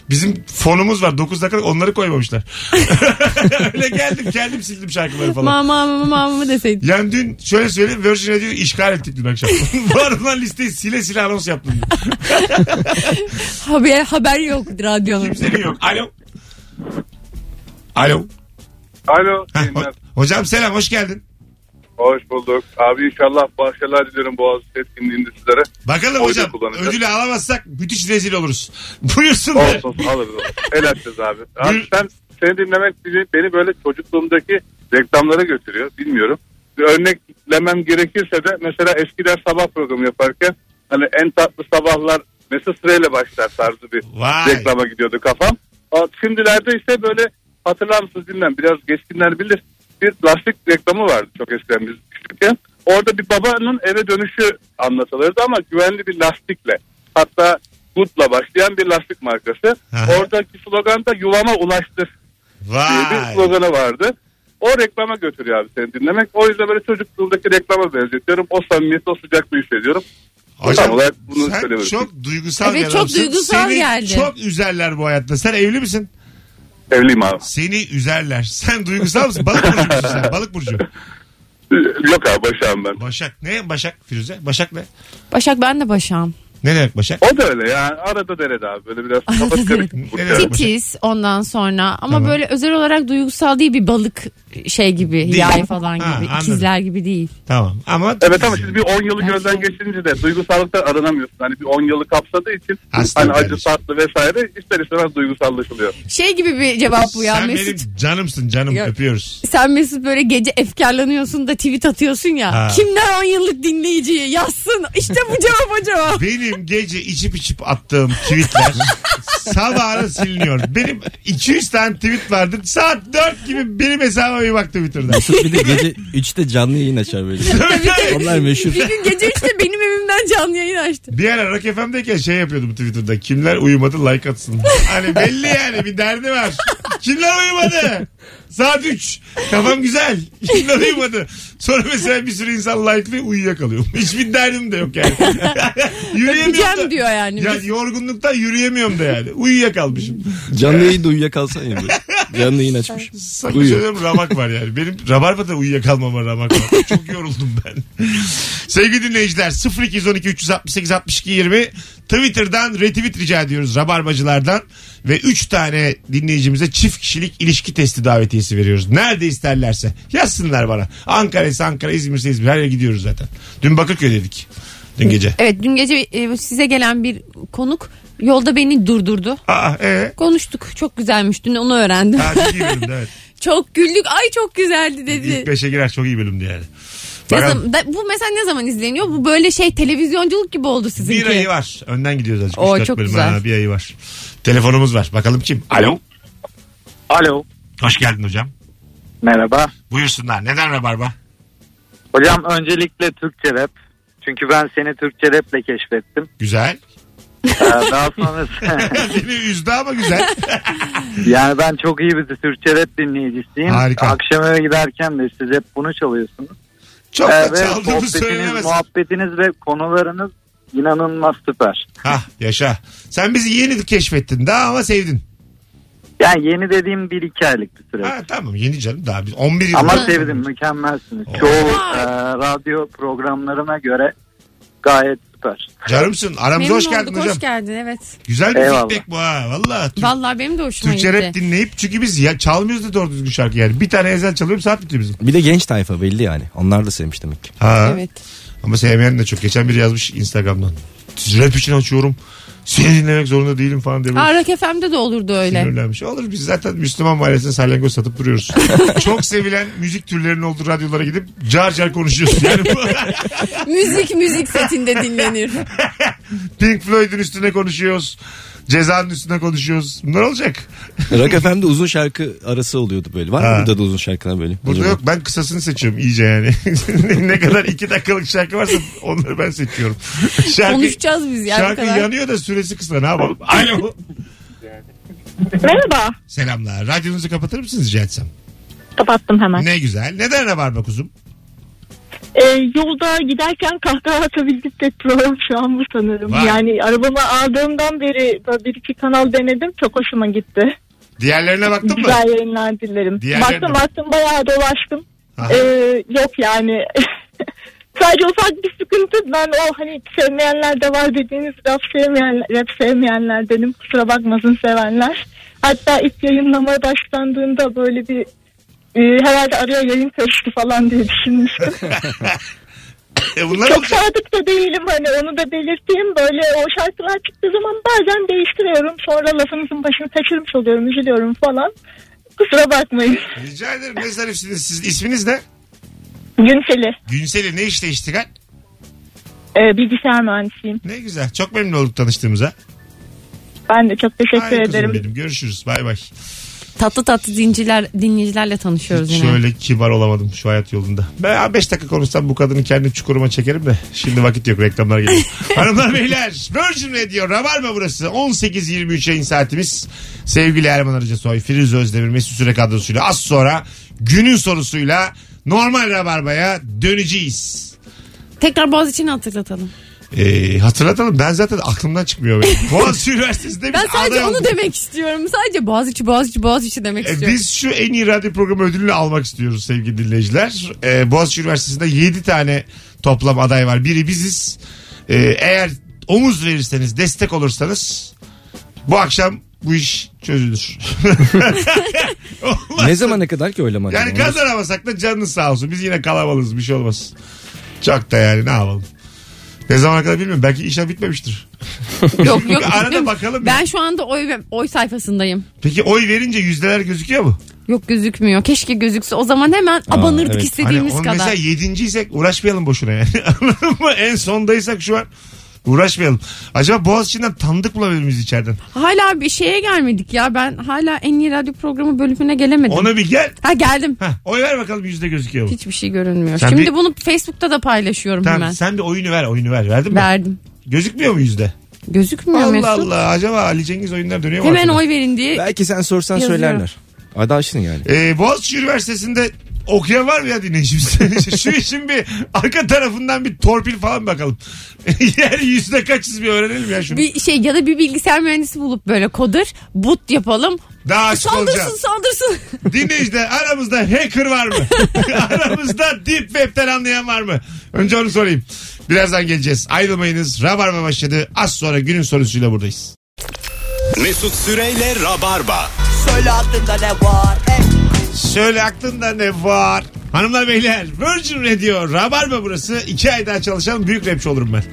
Speaker 2: bizim fonumuz var 9 dakika onları koymamışlar. Öyle geldim kendim sildim şarkıları falan.
Speaker 3: Mama mama mama deseydin.
Speaker 2: Yani dün şöyle söyleyeyim Virgin Radio'yu işgal ettik dün akşam. var olan listeyi sile sile anons yaptım.
Speaker 3: Haber, haber yok radyonun.
Speaker 2: Kimsenin yok. Alo. Alo.
Speaker 5: Alo.
Speaker 2: Heh, ho- hocam selam hoş geldin.
Speaker 5: Hoş bulduk. Abi inşallah başarılar diliyorum Boğaziçi etkinliğinde sizlere.
Speaker 2: Bakalım
Speaker 5: Oyda
Speaker 2: hocam
Speaker 5: kullanacağız.
Speaker 2: ödülü alamazsak müthiş rezil oluruz. Buyursun be.
Speaker 5: Olsun alırız. El açacağız abi. abi
Speaker 2: Buyur.
Speaker 5: sen, seni dinlemek beni, beni böyle çocukluğumdaki reklamlara götürüyor. Bilmiyorum. Bir örneklemem gerekirse de mesela eskiden sabah programı yaparken hani en tatlı sabahlar mesela sırayla başlar tarzı bir
Speaker 2: Vay.
Speaker 5: reklama gidiyordu kafam. Aa, Şimdilerde ise böyle hatırlar mısınız bilmem biraz geçkinler bilir. Bir lastik reklamı vardı çok eskiden biz küçükken. Orada bir babanın eve dönüşü anlatılırdı ama güvenli bir lastikle. Hatta Good'la başlayan bir lastik markası.
Speaker 2: Aha.
Speaker 5: Oradaki slogan da yuvama ulaştır diye bir
Speaker 2: Vay.
Speaker 5: sloganı vardı. O reklama götürüyor abi seni dinlemek. O yüzden böyle çocukluğumdaki reklama benzetiyorum. O samimiyeti, o sıcaklığı hissediyorum.
Speaker 2: Hocam
Speaker 5: Tam olarak bunu
Speaker 2: sen
Speaker 5: söylemek
Speaker 2: çok duygusal
Speaker 3: Evet,
Speaker 2: bir
Speaker 3: çok
Speaker 2: adamsın.
Speaker 3: duygusal
Speaker 2: Seni
Speaker 3: geldi.
Speaker 2: çok üzerler bu hayatta. Sen evli misin?
Speaker 5: Evliyim abi.
Speaker 2: Seni üzerler. Sen duygusal mısın? Balık burcu musun sen? Balık burcu.
Speaker 5: Yok abi başağım ben.
Speaker 2: Başak. Ne? Başak Firuze. Başak ne?
Speaker 3: Başak ben de Başak'ım.
Speaker 2: Ne demek Başak?
Speaker 5: O da öyle yani. Arada derede abi. Böyle biraz kafa karışık.
Speaker 2: Ne
Speaker 8: şey.
Speaker 5: burçlar.
Speaker 2: demek Başak?
Speaker 3: Titiz ondan sonra ama
Speaker 2: Tamam.
Speaker 3: böyle özel olarak duygusal değil bir balık şey gibi yay falan
Speaker 2: Ha,
Speaker 3: gibi
Speaker 2: anladım.
Speaker 3: ikizler gibi değil.
Speaker 2: Tamam ama...
Speaker 5: Evet ama siz bir 10 yılı gözden geçirince de duygusallıktan aranamıyorsun. Hani bir 10 yılı kapsadığı için
Speaker 2: Aslan
Speaker 5: hani acı
Speaker 2: kardeşim.
Speaker 5: tatlı vesaire ister istemez duygusallaşılıyor.
Speaker 3: Şey gibi bir cevap bu ya
Speaker 2: Sen
Speaker 3: Mesut.
Speaker 2: benim canımsın canım
Speaker 3: Yok.
Speaker 2: öpüyoruz.
Speaker 3: Sen Mesut böyle gece efkarlanıyorsun da tweet atıyorsun ya.
Speaker 2: Ha.
Speaker 3: Kimler 10 yıllık dinleyiciyi yazsın işte bu cevap acaba.
Speaker 2: Benim gece içip içip attığım tweetler sabahına siliniyor. Benim 200 tane tweet vardı. Saat 4 gibi benim hesabıma bir baktım Twitter'da.
Speaker 4: Mesut bir de gece 3'te canlı yayın açar böyle. Onlar meşhur.
Speaker 3: Bir gün gece 3'te benim evimden canlı yayın açtı.
Speaker 2: Bir ara Rock FM'deyken şey yapıyordum Twitter'da. Kimler uyumadı like atsın. Hani belli yani bir derdi var. Kimler uyumadı? Saat 3. Kafam güzel. Kimler uyumadı? Sonra mesela bir sürü insan like'lı uyuyakalıyor. Hiçbir derdim de yok yani. yürüyemiyorum da.
Speaker 3: Öpeceğim diyor yani.
Speaker 2: Ya yorgunluktan yürüyemiyorum da yani. Uyuyakalmışım.
Speaker 4: Canlı yayında uyuyakalsan ya böyle. Canlı yayın açmış.
Speaker 2: Sana
Speaker 4: Uyuyor.
Speaker 2: söylüyorum ramak var yani. Benim rabarbada uyuyakalmama ramak var. Çok yoruldum ben. Sevgili dinleyiciler 0212 368 62 20 Twitter'dan retweet rica ediyoruz rabarbacılardan. Ve 3 tane dinleyicimize çift kişilik ilişki testi davetiyesi veriyoruz. Nerede isterlerse yazsınlar bana. Ankara ise Ankara, İzmir ise İzmir. Her yere gidiyoruz zaten. Dün Bakırköy'deydik. Dün gece.
Speaker 3: Evet dün gece e, size gelen bir konuk yolda beni durdurdu.
Speaker 2: Aa ee.
Speaker 3: Konuştuk çok güzelmiş dün onu öğrendim.
Speaker 2: Ha, çok iyi bölümdü evet.
Speaker 3: çok güldük ay çok güzeldi dedi.
Speaker 2: İlk beşe girer çok iyi bölümdü yani.
Speaker 3: Ne
Speaker 2: Bakalım.
Speaker 3: zaman- da- bu mesela ne zaman izleniyor? Bu böyle şey televizyonculuk gibi oldu sizinki.
Speaker 2: Bir ayı var. Önden gidiyoruz azıcık.
Speaker 3: Oo,
Speaker 2: Üç, dört
Speaker 3: çok
Speaker 2: bölüm.
Speaker 3: güzel.
Speaker 2: Ha, bir ayı var. Telefonumuz var. Bakalım kim? Alo.
Speaker 5: Alo.
Speaker 2: Hoş geldin hocam.
Speaker 5: Merhaba.
Speaker 2: Buyursunlar. Neden rabarba?
Speaker 5: Hocam öncelikle Türkçe rap. Çünkü ben seni Türkçe raple keşfettim. Ee,
Speaker 2: Güzel.
Speaker 5: daha sonrası
Speaker 2: Seni üzdü ama güzel.
Speaker 5: yani ben çok iyi bir Türkçe rap dinleyicisiyim.
Speaker 2: Harika.
Speaker 5: Akşam eve giderken de siz hep bunu çalıyorsunuz.
Speaker 2: Çok
Speaker 5: Ee,
Speaker 2: da
Speaker 5: ve
Speaker 2: çaldığımı
Speaker 5: sohbetiniz,
Speaker 2: söylenemez.
Speaker 5: muhabbetiniz ve konularınız inanılmaz süper.
Speaker 2: Hah yaşa. Sen bizi yeni keşfettin daha ama sevdin.
Speaker 5: Yani yeni dediğim bir iki aylık bir süre.
Speaker 2: Ha tamam yeni canım daha biz 11 yıl.
Speaker 5: Ama sevdim mükemmelsiniz.
Speaker 2: Oo.
Speaker 5: Çoğu e, radyo programlarına göre gayet süper.
Speaker 2: Canımsın. Aramıza
Speaker 3: Memnun
Speaker 2: hoş
Speaker 3: olduk,
Speaker 2: geldin hocam.
Speaker 3: Hoş geldin evet.
Speaker 2: Güzel bir
Speaker 5: Eyvallah.
Speaker 2: feedback bu ha. Valla. Tür-
Speaker 3: Vallahi benim de hoşuma
Speaker 2: Türkçe rap
Speaker 3: gitti.
Speaker 2: dinleyip çünkü biz ya, çalmıyoruz da doğru düzgün şarkı yani. Bir tane ezel çalıyorum saat bitiyor bizim.
Speaker 4: Bir de genç tayfa belli yani. Onlar da sevmiş demek ki.
Speaker 2: Ha.
Speaker 3: Evet.
Speaker 2: Ama sevmeyen de çok. Geçen biri yazmış Instagram'dan. Rap için açıyorum. Seni dinlemek zorunda değilim falan diye. böyle
Speaker 3: Aa, Rock FM'de de olurdu öyle.
Speaker 2: Sinirlenmiş. Olur biz zaten Müslüman mahallesine salyangoz satıp duruyoruz. çok sevilen müzik türlerinin olduğu radyolara gidip car car konuşuyoruz. Yani bu
Speaker 3: müzik müzik setinde dinlenir.
Speaker 2: Pink Floyd'un üstüne konuşuyoruz. Ceza'nın üstüne konuşuyoruz. Bunlar olacak.
Speaker 4: Rock FM'de uzun şarkı arası oluyordu böyle. Var mı
Speaker 2: Ha.
Speaker 4: burada da uzun şarkılar böyle?
Speaker 2: Burada
Speaker 4: Acaba?
Speaker 2: yok ben kısasını seçiyorum iyice yani. ne kadar iki dakikalık şarkı varsa onları ben seçiyorum. Şarkı,
Speaker 3: Konuşacağız biz yani bu
Speaker 2: şarkı
Speaker 3: kadar.
Speaker 2: yanıyor da süresi kısa ne yapalım. Alo.
Speaker 9: Merhaba.
Speaker 2: Selamlar. Radyonuzu kapatır mısınız rica etsem?
Speaker 9: Kapattım hemen.
Speaker 2: Ne güzel. Neden rabarba kuzum?
Speaker 9: Ee, yolda giderken kahkaha atabildik de program şu an bu sanırım.
Speaker 2: Vay.
Speaker 9: Yani arabamı aldığımdan beri böyle bir iki kanal denedim. Çok hoşuma gitti.
Speaker 2: Diğerlerine baktın mı?
Speaker 9: Güzel yayınlar dilerim.
Speaker 2: Diğerleri de-
Speaker 9: Baktım baktım bayağı dolaştım.
Speaker 2: Aha.
Speaker 9: Ee, yok yani. Sadece ufak bir sıkıntı. Ben o hani sevmeyenler de var dediğiniz rap sevmeyenler, rap sevmeyenler dedim. Kusura bakmasın sevenler. Hatta ilk yayınlamaya başlandığında böyle bir e, herhalde araya yayın karıştı falan diye düşünmüştüm.
Speaker 2: E bunlar
Speaker 9: Çok
Speaker 2: olacak.
Speaker 9: sadık da değilim hani onu da belirteyim. Böyle o şarkılar çıktığı zaman bazen değiştiriyorum. Sonra lafınızın başını kaçırmış oluyorum, üzülüyorum falan. Kusura bakmayın.
Speaker 2: Rica ederim. Ne zarifsiniz siz. İsminiz ne? Ee,
Speaker 9: Günseli,
Speaker 2: Günsel'i ne işle iştigal?
Speaker 9: e, bilgisayar mühendisiyim.
Speaker 2: Ne güzel. Çok memnun olduk tanıştığımıza.
Speaker 9: Ben de çok teşekkür
Speaker 2: Ay kızım
Speaker 9: ederim.
Speaker 2: benim. Görüşürüz. Bay bay.
Speaker 3: Tatlı tatlı dinciler, dinleyicilerle tanışıyoruz yine.
Speaker 2: Şöyle kibar olamadım şu hayat yolunda. Ben 5 dakika konuşsam bu kadını kendi çukuruma çekerim de. Şimdi vakit yok reklamlar geliyor. Hanımlar beyler Virgin Radio Rabarba burası. 18.23 yayın saatimiz. Sevgili Erman Arıca Soy, Firuze Özdemir, Mesut Süre kadrosuyla az sonra günün sorusuyla normal Rabarba'ya döneceğiz.
Speaker 3: Tekrar Boğaziçi'ni hatırlatalım.
Speaker 2: Ee, hatırlatalım ben zaten aklımdan çıkmıyor benim. Boğaziçi Üniversitesi'nde biz
Speaker 3: Ben sadece
Speaker 2: aday
Speaker 3: onu
Speaker 2: olduk.
Speaker 3: demek istiyorum. Sadece Boğaziçi, Boğaziçi, Boğaziçi demek
Speaker 2: E,
Speaker 3: istiyorum.
Speaker 2: Biz şu en iyi radyo programı ödülünü almak istiyoruz sevgili dinleyiciler. E, Boğaziçi Üniversitesi'nde 7 tane toplam aday var. Biri biziz. E, eğer omuz verirseniz, destek olursanız bu akşam bu iş çözülür. Olmaz.
Speaker 4: Ne zamana kadar ki oylama?
Speaker 2: Yani kazanamasak da canınız sağ olsun. Biz yine kalabalığız bir şey olmaz. Çok da yani ne yapalım. Ne zamana kadar bilmiyorum. Belki işe bitmemiştir.
Speaker 3: Yok yok.
Speaker 2: Arada
Speaker 3: bilmiyorum.
Speaker 2: bakalım. ya.
Speaker 3: Ben şu anda oy, oy sayfasındayım.
Speaker 2: Peki oy verince yüzdeler gözüküyor mu?
Speaker 3: Yok gözükmüyor. Keşke gözükse. O zaman hemen abanırdık
Speaker 4: evet.
Speaker 3: istediğimiz
Speaker 2: on-
Speaker 3: kadar.
Speaker 2: Hani Mesela yedinciysek uğraşmayalım boşuna yani. Anladın mı? En sondaysak şu an uğraşmayalım. Acaba Boğaziçi'nden tanıdık bulabilir miyiz içeriden?
Speaker 3: Hala bir şeye gelmedik ya. Ben hala en iyi radyo programı bölümüne gelemedim.
Speaker 2: Ona bir gel.
Speaker 3: Ha geldim.
Speaker 2: Heh, oy ver bakalım yüzde gözüküyor mu?
Speaker 3: Hiçbir şey görünmüyor.
Speaker 2: Sen
Speaker 3: Şimdi
Speaker 2: bir-
Speaker 3: bunu Facebook'ta da paylaşıyorum
Speaker 2: Tamam
Speaker 3: hemen.
Speaker 2: sen bir oyunu ver oyunu ver. Verdin mi?
Speaker 3: Verdim.
Speaker 2: Gözükmüyor mu yüzde?
Speaker 3: Gözükmüyor
Speaker 2: Allah
Speaker 3: Mesut.
Speaker 2: Allah acaba Ali Cengiz oyunlar dönüyor mu?
Speaker 3: Hemen
Speaker 2: arkada?
Speaker 3: oy verin diye.
Speaker 4: Belki sen sorsan
Speaker 3: Yazıyor.
Speaker 4: söylerler. Adaşın yani.
Speaker 2: Ee, Boğaziçi Üniversitesi'nde okuyan var mı ya dinleyicimiz? Şu işin bir arka tarafından bir torpil falan bakalım. Yer yüzde kaçız bir öğrenelim ya şunu.
Speaker 3: Bir şey ya da bir bilgisayar mühendisi bulup böyle kodur, but yapalım.
Speaker 2: Daha açık olacağım.
Speaker 3: Saldırsın saldırsın.
Speaker 2: Dinleyiciler aramızda hacker var mı? aramızda deep web'ten anlayan var mı? Önce onu sorayım. Birazdan geleceğiz. Ayrılmayınız. Rabarba başladı. Az sonra günün sorusuyla buradayız.
Speaker 1: Mesut Süreyle Rabarba.
Speaker 10: Söyle aklında ne var? Eh. Hey.
Speaker 2: Söyle aklında ne var? Hanımlar beyler Virgin Radio Rabarba burası. İki ay daha çalışan büyük rapçi olurum ben.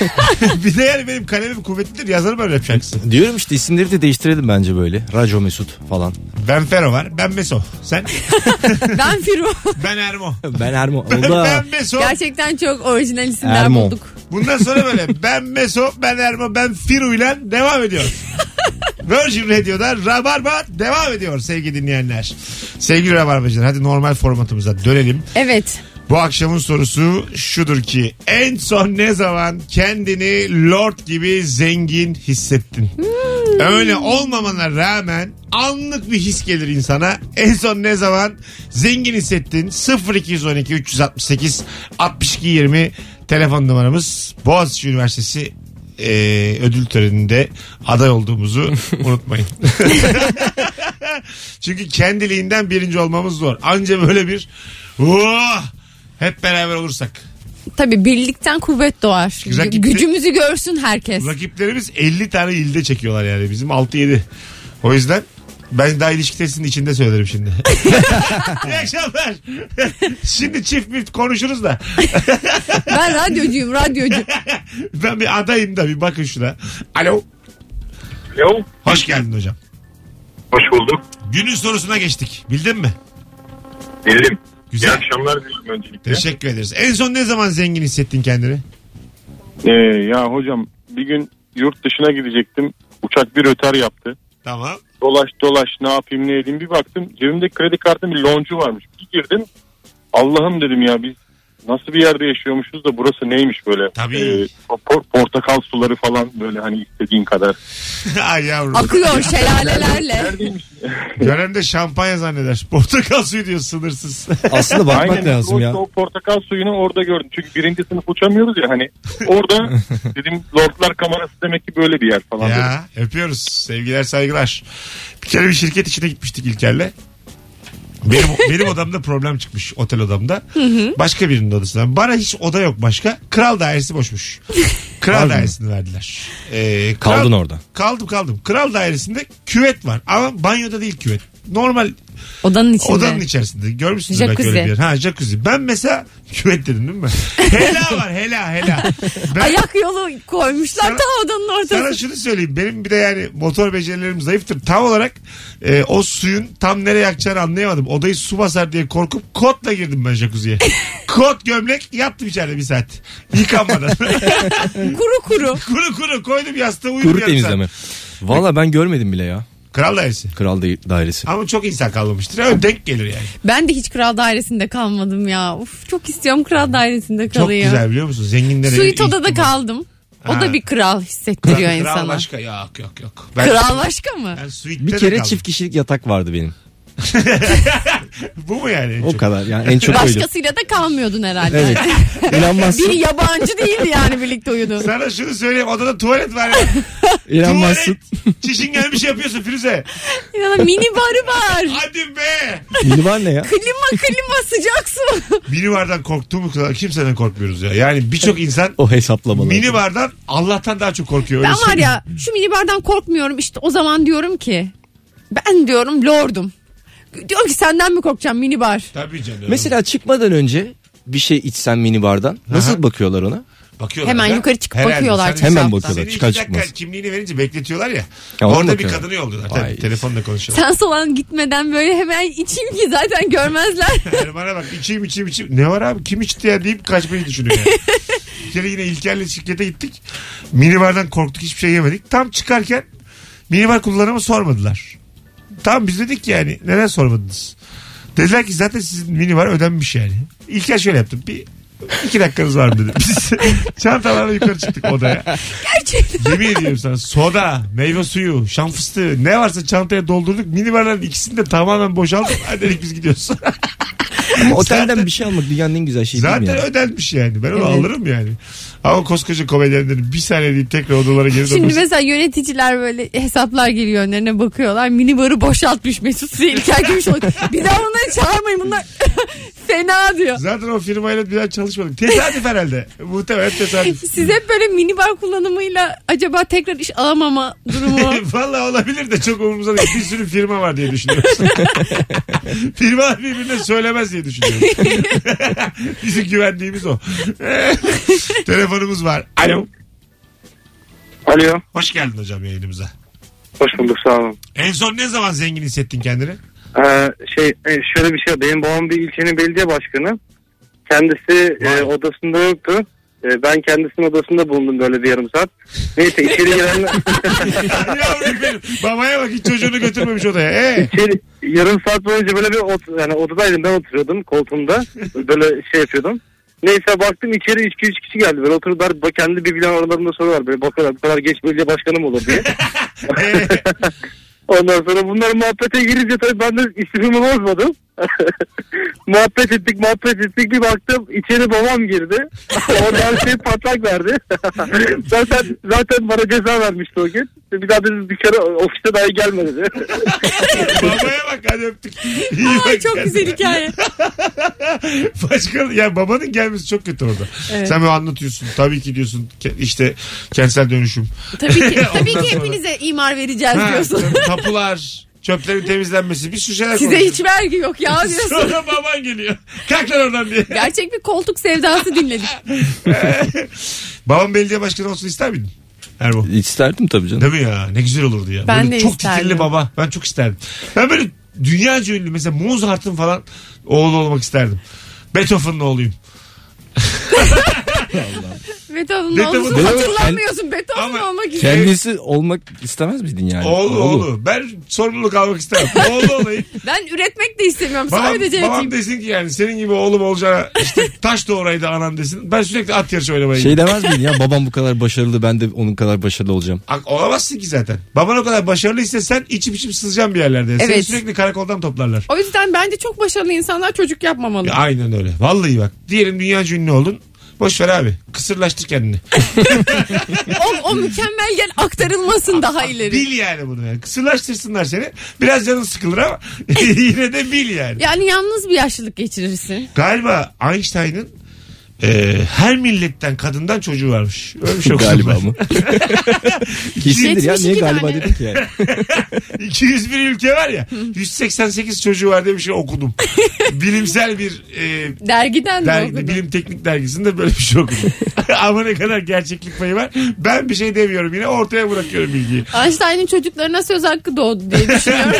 Speaker 2: bir de yani benim kalemim kuvvetlidir yazarım ben rap şarkısı.
Speaker 4: Diyorum işte isimleri de değiştirelim bence böyle. Raco Mesut falan.
Speaker 2: Ben Fero var. Ben Meso. Sen?
Speaker 3: ben Firu.
Speaker 2: Ben Ermo.
Speaker 4: Ben Ermo. Oldu.
Speaker 2: ben Meso.
Speaker 3: Gerçekten çok orijinal isimler
Speaker 4: Ermon.
Speaker 3: bulduk.
Speaker 2: Bundan sonra böyle ben Meso, ben Erma, ben Firu ile devam ediyoruz. Virgin Radio'da Rabarba devam ediyor sevgili dinleyenler. Sevgili Rabarbacılar hadi normal formatımıza dönelim.
Speaker 3: Evet.
Speaker 2: Bu akşamın sorusu şudur ki en son ne zaman kendini lord gibi zengin hissettin? Öyle olmamana rağmen anlık bir his gelir insana. En son ne zaman zengin hissettin? 0212 368 62 20 telefon numaramız. Boğaziçi Üniversitesi eee, ödül töreninde aday olduğumuzu unutmayın. Çünkü kendiliğinden birinci olmamız zor. Anca böyle bir "Oh!" hep beraber olursak.
Speaker 3: Tabii birlikten kuvvet doğar.
Speaker 2: Güzel
Speaker 3: Gü-
Speaker 2: gitti.
Speaker 3: Gücümüzü görsün herkes.
Speaker 2: Rakiplerimiz 50 tane ilde çekiyorlar yani bizim 6-7. O yüzden ben daha ilişki testinin içinde söylerim şimdi. İyi akşamlar. şimdi çift mift konuşuruz da.
Speaker 3: Ben radyocuyum radyocu.
Speaker 2: Ben bir adayım da bir bakın şuna. Alo.
Speaker 5: Alo.
Speaker 2: Hoş geldin hocam.
Speaker 5: Hoş bulduk.
Speaker 2: Günün sorusuna geçtik. Bildin mi?
Speaker 5: Bildim.
Speaker 2: Güzel.
Speaker 5: akşamlar diliyorum öncelikle.
Speaker 2: Teşekkür ederiz. En son ne zaman zengin hissettin kendini?
Speaker 8: Ee, ya hocam bir gün yurt dışına gidecektim. Uçak bir röter yaptı.
Speaker 2: Tamam.
Speaker 8: Dolaş dolaş ne yapayım ne edeyim bir baktım. Cebimdeki kredi kartının bir loncu varmış. Bir girdim. Allah'ım dedim ya biz nasıl bir yerde yaşıyormuşuz da burası neymiş böyle. Ee,
Speaker 2: Tabii.
Speaker 8: por- portakal suları falan böyle hani istediğin kadar.
Speaker 2: Ay yavrum.
Speaker 3: Akıyor şelalelerle.
Speaker 2: Gören de şampanya zanneder. Portakal suyu diyor sınırsız.
Speaker 4: Aslında bakmak
Speaker 8: Aynen.
Speaker 4: lazım ya.
Speaker 8: O, o portakal suyunu orada gördüm. Çünkü birinci sınıf uçamıyoruz ya hani. Orada dedim Lordlar kamerası demek ki böyle bir yer falan. dedim.
Speaker 2: ya öpüyoruz. Sevgiler saygılar. Bir kere bir şirket içine gitmiştik İlker'le. Benim, benim odamda problem çıkmış otel odamda. Başka birinin odasına. Bana hiç oda yok başka. Kral dairesi boşmuş. Kral
Speaker 4: Harbi mi?
Speaker 2: dairesini verdiler. Ee, kral-
Speaker 4: Kaldın orada.
Speaker 2: Kaldım kaldım. Kral dairesinde küvet var ama banyoda değil küvet. Normal
Speaker 3: Odanın içinde.
Speaker 2: Odanın içerisinde. Görmüşsünüz belki
Speaker 3: Jacuzzi.
Speaker 2: öyle bir yer. Ha jacuzzi. Ben mesela küvet dedim değil mi? hela var hela hela. Ben
Speaker 3: Ayak yolu koymuşlar
Speaker 2: Sana-
Speaker 3: ta odanın ortasına.
Speaker 2: sana şunu söyleyeyim. Benim bir de yani motor becerilerim zayıftır. Tam olarak e, o suyun tam nereye akacağını anlayamadım. Odayı su basar diye korkup kotla girdim ben jacuzziye. Kot gömlek yattım içeride bir saat. Yıkanmadan.
Speaker 3: Kuru kuru.
Speaker 2: kuru kuru koydum yastığa uyudum.
Speaker 4: Kuru
Speaker 2: yarım saat.
Speaker 4: temizleme. Valla ben görmedim bile ya.
Speaker 2: Kral dairesi.
Speaker 4: Kral da- dairesi.
Speaker 2: Ama çok insan kalmamıştır. Öyle denk gelir yani.
Speaker 3: Ben de hiç kral dairesinde kalmadım ya. Uf, çok istiyorum kral dairesinde kalayım.
Speaker 2: Çok güzel biliyor musun? Zenginlere
Speaker 3: Suite
Speaker 2: ilk-
Speaker 3: odada kaldım. O
Speaker 2: Ha.
Speaker 3: da bir kral hissettiriyor
Speaker 2: Kral, kral
Speaker 3: insana.
Speaker 2: başka yok yok yok. Ben,
Speaker 3: Kral başka mı?
Speaker 2: ben suite'de
Speaker 4: Bir
Speaker 2: de
Speaker 4: kere
Speaker 2: kaldım.
Speaker 4: çift kişilik yatak vardı benim.
Speaker 2: Bu mu yani? en
Speaker 4: O
Speaker 2: çok?
Speaker 4: kadar yani en çok oydu.
Speaker 3: Başkasıyla da kalmıyordun herhalde.
Speaker 4: Evet.
Speaker 3: Biri
Speaker 4: İnanmazsın.
Speaker 3: yabancı değildi yani birlikte uyudun.
Speaker 2: Sana şunu söyleyeyim odada tuvalet var ya.
Speaker 4: İnanmazsın.
Speaker 2: tuvalet. Çişin gelmiş yapıyorsun Firuze.
Speaker 3: İnanın mini barı var.
Speaker 2: Hadi be.
Speaker 4: Minibar ne ya?
Speaker 3: Klima klima sıcak su.
Speaker 2: Minibardan korktuğumuz kadar kimseden korkmuyoruz ya. Yani birçok insan
Speaker 4: O hesaplamalar.
Speaker 2: minibardan Allah'tan daha çok korkuyor.
Speaker 3: Ben
Speaker 2: öyle
Speaker 3: var
Speaker 2: söyleyeyim.
Speaker 3: ya şu mini bardan korkmuyorum. İşte o zaman diyorum ki ben diyorum lordum. Diyorum ki senden mi korkacağım mini bar?
Speaker 2: Tabii canım.
Speaker 4: Mesela çıkmadan önce bir şey içsen minibardan nasıl bakıyorlar ona?
Speaker 2: Bakıyorlar
Speaker 3: Hemen
Speaker 2: ya.
Speaker 3: yukarı çıkıp
Speaker 2: Herhalde.
Speaker 3: bakıyorlar
Speaker 2: Sen-
Speaker 4: Hemen
Speaker 3: Seni
Speaker 4: bakıyorlar
Speaker 2: Seni iki
Speaker 4: çıkar
Speaker 2: dakika
Speaker 4: çıkmaz.
Speaker 2: kimliğini verince bekletiyorlar ya.
Speaker 4: Ya ona
Speaker 2: orada bir
Speaker 4: bakıyorlar.
Speaker 2: kadını yolluyorlar.
Speaker 4: Vay.
Speaker 2: Tabii, telefonla konuşuyorlar.
Speaker 3: Sen soğan gitmeden böyle hemen içeyim ki zaten görmezler.
Speaker 2: Yani bana bak içeyim içeyim içeyim. Ne var abi kim içti ya deyip kaçmayı düşünüyor yani. bir kere yine İlker'le şirkete gittik. Minibardan korktuk hiçbir şey yemedik. Tam çıkarken minibar kullanımı sormadılar. Tam biz dedik ki yani neden sormadınız? Dediler ki zaten sizin minibar ödenmiş yani. İlker şöyle yaptım. Bir iki dakikanız var mı dedim. Biz çantalarla yukarı çıktık odaya.
Speaker 3: Gerçekten.
Speaker 2: Yemin ediyorum sana soda, meyve suyu, şan fıstığı ne varsa çantaya doldurduk. Minibarların ikisini de tamamen boşalttık. Hadi dedik biz gidiyoruz.
Speaker 4: Ama otelden bir şey almak dünyanın en güzel şeyi değil mi
Speaker 2: Zaten
Speaker 4: ya?
Speaker 2: ödenmiş yani. Ben onu
Speaker 3: Evet.
Speaker 2: alırım yani. Ama koskoca komedyenlerin bir saniye deyip tekrar odalara geri
Speaker 3: Şimdi
Speaker 2: dönmesi.
Speaker 3: mesela yöneticiler böyle hesaplar geliyor önlerine bakıyorlar. Minibarı boşaltmış Mesut Süre İlker Gümüşoluk. Bir daha bunları çağırmayın bunlar fena diyor.
Speaker 2: Zaten o firmayla bir daha çalışmadık. Tesadüf herhalde. Muhtemelen tesadüf.
Speaker 3: Siz hep böyle minibar kullanımıyla acaba tekrar iş alamama durumu.
Speaker 2: Valla olabilir de çok umurumuzda değil. Bir sürü firma var diye düşünüyoruz. firma birbirine söylemez diye düşünüyoruz. Bizim güvendiğimiz o. Telefonumuz var. Alo.
Speaker 5: Alo.
Speaker 2: Hoş geldin hocam yayınımıza.
Speaker 5: Hoş bulduk sağ olun.
Speaker 2: En son ne zaman zengin hissettin kendini?
Speaker 5: Ee, şey e, şöyle bir şey benim babam bir ilçenin belediye başkanı kendisi
Speaker 2: Vay.
Speaker 5: e, odasında yoktu E, ben kendisinin odasında bulundum böyle bir yarım saat neyse içeri girenler
Speaker 2: Yavrum benim. Babaya bak hiç çocuğunu götürmemiş odaya. Ee?
Speaker 5: içeri yarım saat boyunca böyle bir ot, yani odadaydım ben oturuyordum koltuğumda böyle şey yapıyordum neyse baktım içeri üç kişi, üç kişi geldi böyle oturdular bak- kendi birbirlerinin aralarında soruyorlar böyle bakıyorlar bu kadar geç belediye başkanı mı olur diye
Speaker 2: Ee?
Speaker 5: Ondan sonra bunlar muhabbete girince tabii ben de istifimi bozmadım. muhabbet ettik muhabbet ettik bir baktım içeri babam girdi. o da her şeyi patlak verdi. zaten zaten bana ceza vermişti o gün. Bir daha dedi dışarı ofiste dahi gelme dedi.
Speaker 2: Babaya bak hadi öptük. İyi
Speaker 3: Ay
Speaker 2: bak
Speaker 3: çok
Speaker 2: kendine.
Speaker 3: güzel hikaye.
Speaker 2: Başka ya babanın gelmesi çok kötü orada.
Speaker 3: Evet.
Speaker 2: Sen böyle anlatıyorsun. Tabii ki diyorsun ke- işte kentsel dönüşüm.
Speaker 3: Tabii ki, tabii
Speaker 2: Ondan
Speaker 3: ki
Speaker 2: sonra-
Speaker 3: hepinize imar vereceğiz
Speaker 2: Ha,
Speaker 3: diyorsun.
Speaker 2: tapular, çöplerin temizlenmesi bir sürü şeyler
Speaker 3: Size hiç vergi yok ya
Speaker 2: konuşuyorsun.
Speaker 3: diyorsun.
Speaker 2: Sonra baban geliyor. Kalk lan oradan diye.
Speaker 3: Gerçek bir koltuk sevdası dinledik.
Speaker 2: Babam belediye başkanı olsun ister miydin? Erbo.
Speaker 4: İsterdim tabii canım.
Speaker 2: Değil mi ya? Ne güzel olurdu ya.
Speaker 3: Ben
Speaker 2: böyle
Speaker 3: de
Speaker 2: çok
Speaker 3: isterdim.
Speaker 2: titrili baba. Ben çok isterdim. Ben böyle dünyaca ünlü mesela Mozart'ın falan oğlu olmak isterdim. Beethoven'ın oğluyum.
Speaker 3: Beethoven'ın
Speaker 2: Beethoven-
Speaker 3: olmasını
Speaker 2: Beethoven-
Speaker 3: hatırlamıyorsun. Beethoven
Speaker 2: Ama-
Speaker 3: olmak için.
Speaker 4: Kendisi olmak istemez miydin yani?
Speaker 2: Oğlu oğlu. Ben sorumluluk almak istemem. oğlu olayım.
Speaker 3: Ben üretmek de istemiyorum.
Speaker 2: Babam,
Speaker 3: Sadece
Speaker 2: babam
Speaker 3: yatayım.
Speaker 2: desin ki yani senin gibi oğlum olacağına işte taş doğraydı anam desin. Ben sürekli at yarışı oynamaya
Speaker 4: Şey
Speaker 2: gidiyorum.
Speaker 4: demez miydin ya babam bu kadar başarılı ben de onun kadar başarılı olacağım.
Speaker 2: Ak- Olamazsın ki zaten. Baban o kadar başarılıysa sen içip içip sızacaksın bir yerlerde. Seni
Speaker 3: Evet.
Speaker 2: sürekli karakoldan toplarlar.
Speaker 3: O yüzden bence çok başarılı insanlar çocuk yapmamalı.
Speaker 2: Ya Aynen öyle. Vallahi bak. Diyelim dünya ünlü oldun. Boş ver abi. Kısırlaştır kendini.
Speaker 3: O, o mükemmel yer aktarılmasın daha ileri.
Speaker 2: Bil yani bunu yani. Kısırlaştırsınlar seni. Biraz canın sıkılır ama yine de bil yani.
Speaker 3: yani yalnız bir yaşlılık geçirirsin.
Speaker 2: Galiba Einstein'ın Ee, her milletten kadından çocuğu varmış. Öyle bir şey okudum
Speaker 4: galiba
Speaker 2: ben.
Speaker 4: mı? Kesindir ya. Niye
Speaker 3: 72
Speaker 4: galiba
Speaker 3: tane.
Speaker 4: dedin ki yani?
Speaker 2: 201 ülke var ya. 188 çocuğu var diye bir şey okudum. Bilimsel bir e,
Speaker 3: Dergiden de
Speaker 2: dergide,
Speaker 3: okudum.
Speaker 2: bilim teknik dergisinde böyle bir şey okudum. Ama ne kadar gerçeklik payı var. Ben bir şey demiyorum yine ortaya bırakıyorum bilgiyi.
Speaker 3: Einstein'in çocuklarına söz hakkı doğdu diye düşünüyorum.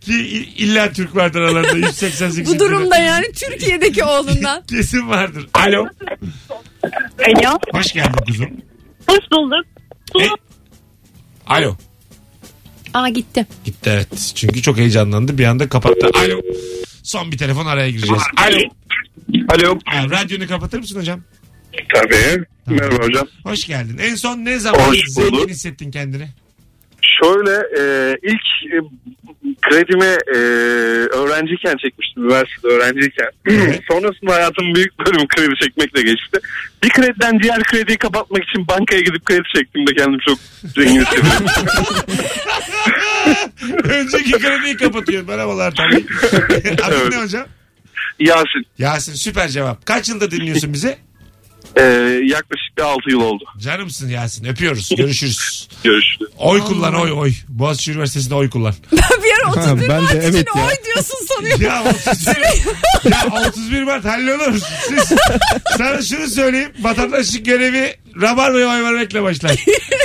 Speaker 2: Ki i- illa Türk vardır aralarında 188.
Speaker 3: Bu durumda yani Türkiye'deki oğlundan.
Speaker 2: Kesin vardır. Alo.
Speaker 11: Alo.
Speaker 2: Hoş geldin kuzum.
Speaker 11: Hoş bulduk.
Speaker 2: E- Alo.
Speaker 3: Aa gitti.
Speaker 2: Gitti evet. Çünkü çok heyecanlandı. Bir anda kapattı. Alo. Son bir telefon araya gireceğiz. Alo.
Speaker 5: Alo.
Speaker 2: Ha, radyonu kapatır mısın hocam?
Speaker 5: Tabii. Merhaba hocam.
Speaker 2: Hoş geldin. En son ne zaman
Speaker 5: Hoş
Speaker 2: zengin
Speaker 5: bulduk.
Speaker 2: hissettin kendini?
Speaker 5: Şöyle e, ilk e, kredimi e, öğrenciyken çekmiştim. Üniversitede öğrenciyken. Sonrasında hayatımın büyük bölümü kredi çekmekle geçti. Bir krediden diğer krediyi kapatmak için bankaya gidip kredi çektim de kendim çok zengin hissediyorum.
Speaker 2: Önceki krediyi kapatıyor. Merhabalar tabii. Adın
Speaker 5: Evet.
Speaker 2: ne hocam?
Speaker 5: Yasin
Speaker 2: Yasin süper cevap. Kaç yılda dinliyorsun bizi?
Speaker 5: e, yaklaşık bir 6 yıl oldu.
Speaker 2: Canımsın Yasin. Öpüyoruz. Görüşürüz.
Speaker 5: Görüşürüz.
Speaker 2: Oy kullan oy oy. Boğaziçi Üniversitesi'nde oy kullan.
Speaker 3: Ben bir ara
Speaker 4: ben
Speaker 3: 31
Speaker 4: de
Speaker 3: Mart için
Speaker 4: evet ya.
Speaker 3: oy diyorsun sanıyorum.
Speaker 2: Ya 31, ya 31 Mart hallolur. Siz, sana şunu söyleyeyim. Vatandaşlık görevi rabar ve oy vermekle başlar.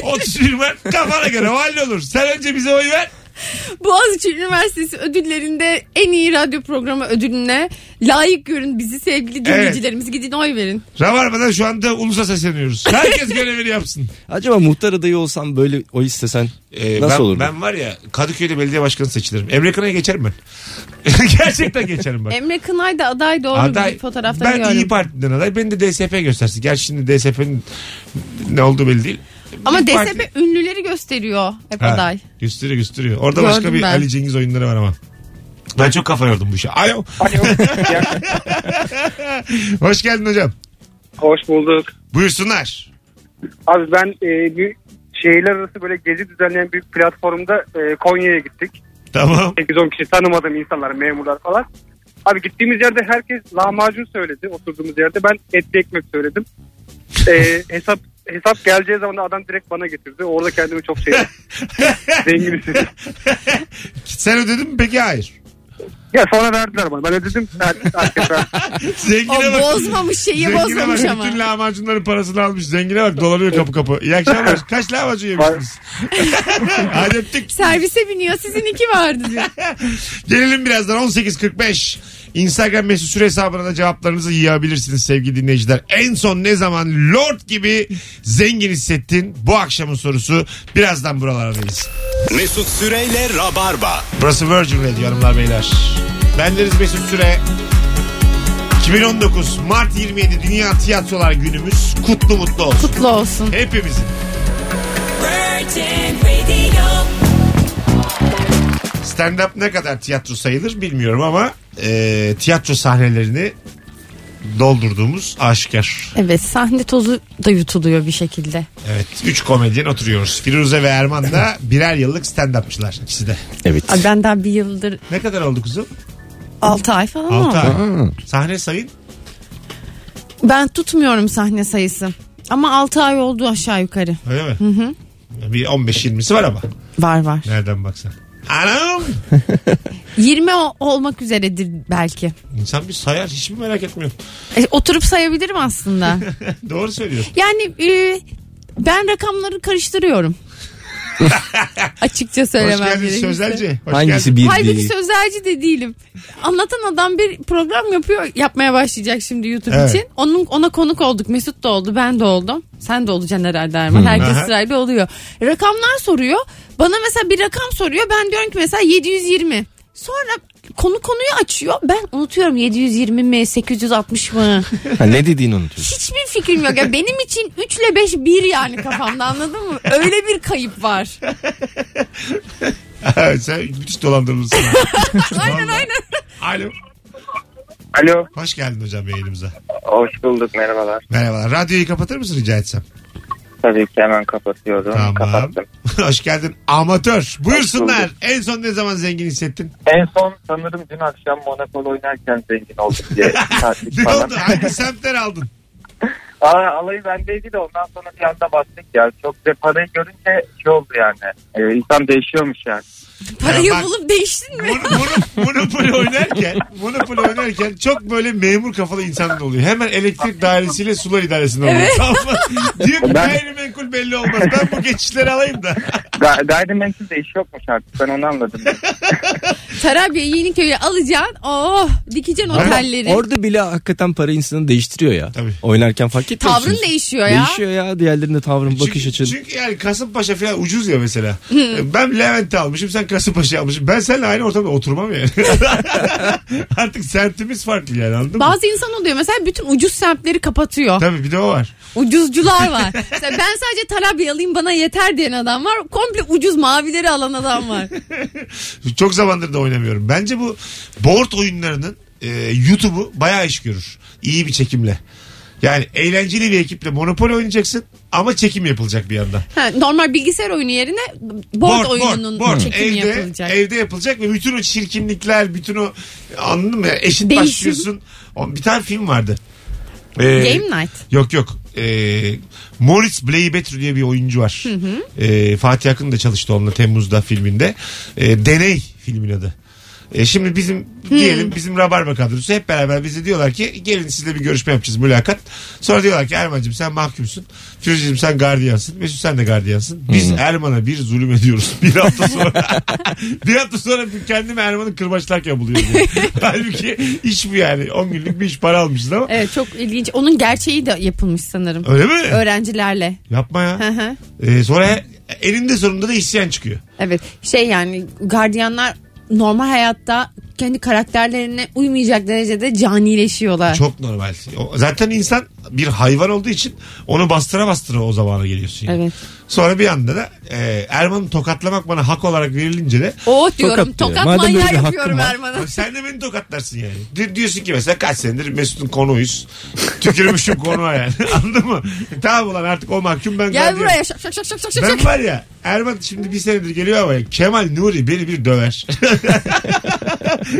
Speaker 2: 31 Mart kafana göre o hallolur. Sen önce bize oy ver.
Speaker 3: Boğaziçi Üniversitesi ödüllerinde en iyi radyo programı ödülüne layık görün bizi sevgili dinleyicilerimiz. Gidin oy verin.
Speaker 2: Rabarba'dan şu anda ulusa sesleniyoruz. Herkes görevini yapsın.
Speaker 4: Acaba muhtar adayı olsam böyle o istesen
Speaker 2: Ee,
Speaker 4: nasıl
Speaker 2: ben,
Speaker 4: olurdu?
Speaker 2: ben var ya Kadıköy'de belediye başkanı seçilirim. Emre Kınay'ı geçerim ben. Gerçekten geçerim ben.
Speaker 3: Emre Kınay da aday doğru bir fotoğraftan
Speaker 2: ben
Speaker 3: gördüm.
Speaker 2: İyi Parti'den aday. Beni de DSP göstersin. Gerçi şimdi DSP'nin ne olduğu belli değil.
Speaker 3: Ama
Speaker 2: İYİ
Speaker 3: DSP
Speaker 2: Parti-
Speaker 3: ünlüleri gösteriyor hep
Speaker 2: Ha,
Speaker 3: aday.
Speaker 2: Gösteriyor gösteriyor. Orada
Speaker 3: Gördüm
Speaker 2: başka bir
Speaker 3: ben.
Speaker 2: Ali Cengiz oyunları var ama. Ben çok kafa yordum bu işe. Alo. Hoş geldin hocam.
Speaker 5: Hoş bulduk.
Speaker 2: Buyursunlar.
Speaker 5: Abi ben e, bir şehirler arası böyle gezi düzenleyen bir platformda e, Konya'ya gittik.
Speaker 2: Tamam.
Speaker 5: 8-10 kişi tanımadığım insanlar, memurlar falan. Abi gittiğimiz yerde herkes lahmacun söyledi oturduğumuz yerde. Ben etli ekmek söyledim. E, hesap hesap geleceği zaman da adam direkt bana getirdi. Orada kendimi çok şey zengin hissettim.
Speaker 2: Sen ödedin mi peki? Hayır.
Speaker 5: Ya sonra verdiler bana. Ben ödedim. her- herkes verdi.
Speaker 3: O
Speaker 2: Zengine bak.
Speaker 3: bozmamış şeyi
Speaker 2: Zengine
Speaker 3: bozmamış
Speaker 2: bak.
Speaker 3: ama.
Speaker 2: Bütün lahmacunların parasını almış. Zengine bak dolanıyor kapı kapı. İyi akşamlar. Kaç lahmacun yemişsiniz? Hadi öptük.
Speaker 3: Servise biniyor sizin iki vardı diyor.
Speaker 2: Gelelim birazdan 18.45. Instagram mesut süre hesabına da cevaplarınızı yığabilirsiniz sevgili dinleyiciler. En son ne zaman lord gibi zengin hissettin? Bu akşamın sorusu birazdan buralardayız.
Speaker 1: Mesut Süreyle Rabarba.
Speaker 2: Burası Virgin Radio hanımlar beyler. Bendeniz Mesut Süre. 2019 Mart 27 Dünya Tiyatrolar Günümüz kutlu mutlu olsun.
Speaker 3: Kutlu olsun.
Speaker 2: Hepimizin. Stand up ne kadar tiyatro sayılır bilmiyorum ama e, tiyatro sahnelerini doldurduğumuz aşikar.
Speaker 3: Evet sahne tozu da yutuluyor bir şekilde.
Speaker 2: Evet. Üç komedyen oturuyoruz. Firuze ve Erman da birer yıllık stand-upçılar ikisi de.
Speaker 4: Evet.
Speaker 3: Ay ben daha bir yıldır
Speaker 2: Ne kadar oldu kuzum?
Speaker 3: 6 ay falan
Speaker 2: Altı
Speaker 3: oldu.
Speaker 2: ay. Sahne sayın.
Speaker 3: Ben tutmuyorum sahne sayısı. Ama 6 ay oldu aşağı yukarı.
Speaker 2: Öyle mi? Bir 15-20'si var ama.
Speaker 3: Var var.
Speaker 2: Nereden baksan. Anam!
Speaker 3: 20 o- olmak üzeredir belki.
Speaker 2: İnsan bir sayar hiç mi merak etmiyor?
Speaker 3: E, oturup sayabilirim aslında.
Speaker 2: Doğru söylüyorsun.
Speaker 3: Yani e, ben rakamları karıştırıyorum. Açıkça
Speaker 2: Hoş
Speaker 3: söylemem
Speaker 2: geldin
Speaker 3: gerekirse.
Speaker 2: Sözelci. Hoş
Speaker 4: Hangisi
Speaker 2: geldin.
Speaker 4: bir
Speaker 3: Halbuki
Speaker 4: değil?
Speaker 3: sözelci de değilim. Anlatan adam bir program yapıyor. Yapmaya başlayacak şimdi YouTube
Speaker 2: Evet.
Speaker 3: için. Onun ona konuk olduk. Mesut da oldu, ben de oldum. Sen de olacaksın herhalde Erman. Herkes
Speaker 2: Aha.
Speaker 3: sırayla oluyor. Rakamlar soruyor. Bana mesela bir rakam soruyor. Ben diyorum ki mesela 720. Sonra konu konuyu açıyor. Ben unutuyorum 720 mi 860 mı?
Speaker 4: Ha, ne dediğini unutuyorsun.
Speaker 3: Hiçbir fikrim yok. Ya benim için 3 ile 5 bir yani kafamda anladın mı? Öyle bir kayıp var.
Speaker 2: Evet, Sen müthiş dolandırılmışsın. aynen aynen. Alo.
Speaker 5: Alo.
Speaker 2: Hoş geldin hocam yayınımıza.
Speaker 12: Hoş bulduk merhabalar.
Speaker 2: Merhabalar. Radyoyu kapatır mısın rica etsem?
Speaker 12: Tabii ki hemen kapatıyorum.
Speaker 2: Tamam.
Speaker 12: Kapattım.
Speaker 2: Hoş geldin amatör. Buyursunlar. En son ne zaman zengin hissettin?
Speaker 12: En son sanırım dün akşam Monaco'da oynarken zengin olduk diye. Tartış
Speaker 2: Ne
Speaker 12: falan.
Speaker 2: oldu? Hangi semtten aldın?
Speaker 12: Aa, alayı bendeydi de ondan sonra bir anda bastık ya. Çok da parayı görünce şey oldu yani. Ee, insan değişiyormuş yani.
Speaker 3: Parayı
Speaker 2: Ya bak-
Speaker 3: bulup değiştin mi?
Speaker 2: Monopoly oynarken, Monopoly oynarken çok böyle memur kafalı insanlar oluyor. Hemen elektrik dairesiyle sular idaresinde oluyor.
Speaker 12: Evet.
Speaker 2: Tamam mı? Diyor ki
Speaker 12: Ben-
Speaker 2: gayrimenkul belli olmaz. Ben bu geçişleri alayım da.
Speaker 12: Ga- Gayrimenkul de iş yokmuş artık. Ben onu anladım.
Speaker 3: Tarabya Yeniköy'e alacaksın. Oh dikeceksin
Speaker 4: Ama
Speaker 3: otelleri.
Speaker 4: Orada bile hakikaten para insanı değiştiriyor ya. Oynarken fark etmiyorsunuz.
Speaker 3: Tavrın değişiyor ya.
Speaker 4: Değişiyor ya. Diğerlerinde tavrın, bakış açın.
Speaker 2: Çünkü yani Kasımpaşa falan ucuz ya mesela.
Speaker 3: Hı.
Speaker 2: ben Levent'i almışım sen Kasımpaşa almışsın. Ben seninle aynı ortamda oturmam yani. Artık sentimiz farklı yani anladın mı?
Speaker 3: Bazı insan oluyor mesela bütün ucuz semtleri kapatıyor.
Speaker 2: Tabii bir de o var.
Speaker 3: Ucuzcular var. Mesela ben sadece Tarabya alayım bana yeter diyen adam var. Komple ucuz mavileri alan adam var.
Speaker 2: Çok zamandır da oynamıyorum. Bence bu board oyunlarının e, YouTube'u bayağı iş görür. İyi bir çekimle. Yani eğlenceli bir ekiple Monopoly oynayacaksın ama çekim yapılacak bir yandan.
Speaker 3: Ha, normal bilgisayar oyunu yerine board, oyununun çekimi
Speaker 2: evde,
Speaker 3: yapılacak.
Speaker 2: Evde yapılacak ve bütün o çirkinlikler, bütün o anladın mı? Eşit
Speaker 3: Değişim.
Speaker 2: başlıyorsun. O- Bir tane film vardı. Ee,
Speaker 3: Game night.
Speaker 2: Yok yok. Ee, Morris Blaybetru diye bir oyuncu var.
Speaker 3: Hı hı.
Speaker 2: Ee, Fatih Akın da çalıştı onunla Temmuz'da filminde. Ee, Deney filmin adı. Ee, şimdi bizim diyelim bizim Rabarba kadrosu hep beraber bize diyorlar ki gelin sizle bir görüşme yapacağız mülakat. Sonra diyorlar ki Erman'cığım sen mahkumsun. Firuz'cığım sen gardiyansın. Mesut sen de gardiyansın. Biz Erman'a bir zulüm ediyoruz. Bir hafta sonra bir hafta sonra kendimi Erman'ı kırbaçlarken buluyorum. diyor. Halbuki iş bu yani. 10 günlük bir iş para almışız ama.
Speaker 3: Evet çok ilginç. Onun gerçeği de yapılmış sanırım.
Speaker 2: Öyle mi?
Speaker 3: Öğrencilerle.
Speaker 2: Yapma
Speaker 3: Hı
Speaker 2: ya.
Speaker 3: hı.
Speaker 2: Ee, sonra elinde sonunda da isyan çıkıyor.
Speaker 3: evet şey yani gardiyanlar normal hayatta kendi karakterlerine uymayacak derecede canileşiyorlar.
Speaker 2: Çok normal. O- Zaten insan bir hayvan olduğu için onu bastıra bastıra o zamana geliyorsun. yani.
Speaker 3: Evet.
Speaker 2: Sonra bir anda da e, Erman'ı tokatlamak bana hak olarak verilince de
Speaker 3: O diyorum tokat, manyağı yapıyorum Erman'a.
Speaker 2: Abi Sen de beni tokatlarsın yani. Di- diyorsun ki mesela kaç senedir Mesut'un konuğuyuz. Tükürmüşüm konuğa yani. Anladın mı? E, Tamam ulan artık o mahkum ben
Speaker 3: Gel
Speaker 2: gardiyanım.
Speaker 3: buraya şak şak şak şak şak. şak.
Speaker 2: Ben var ya Erman şimdi bir senedir geliyor ama Kemal Nuri beni bir döver.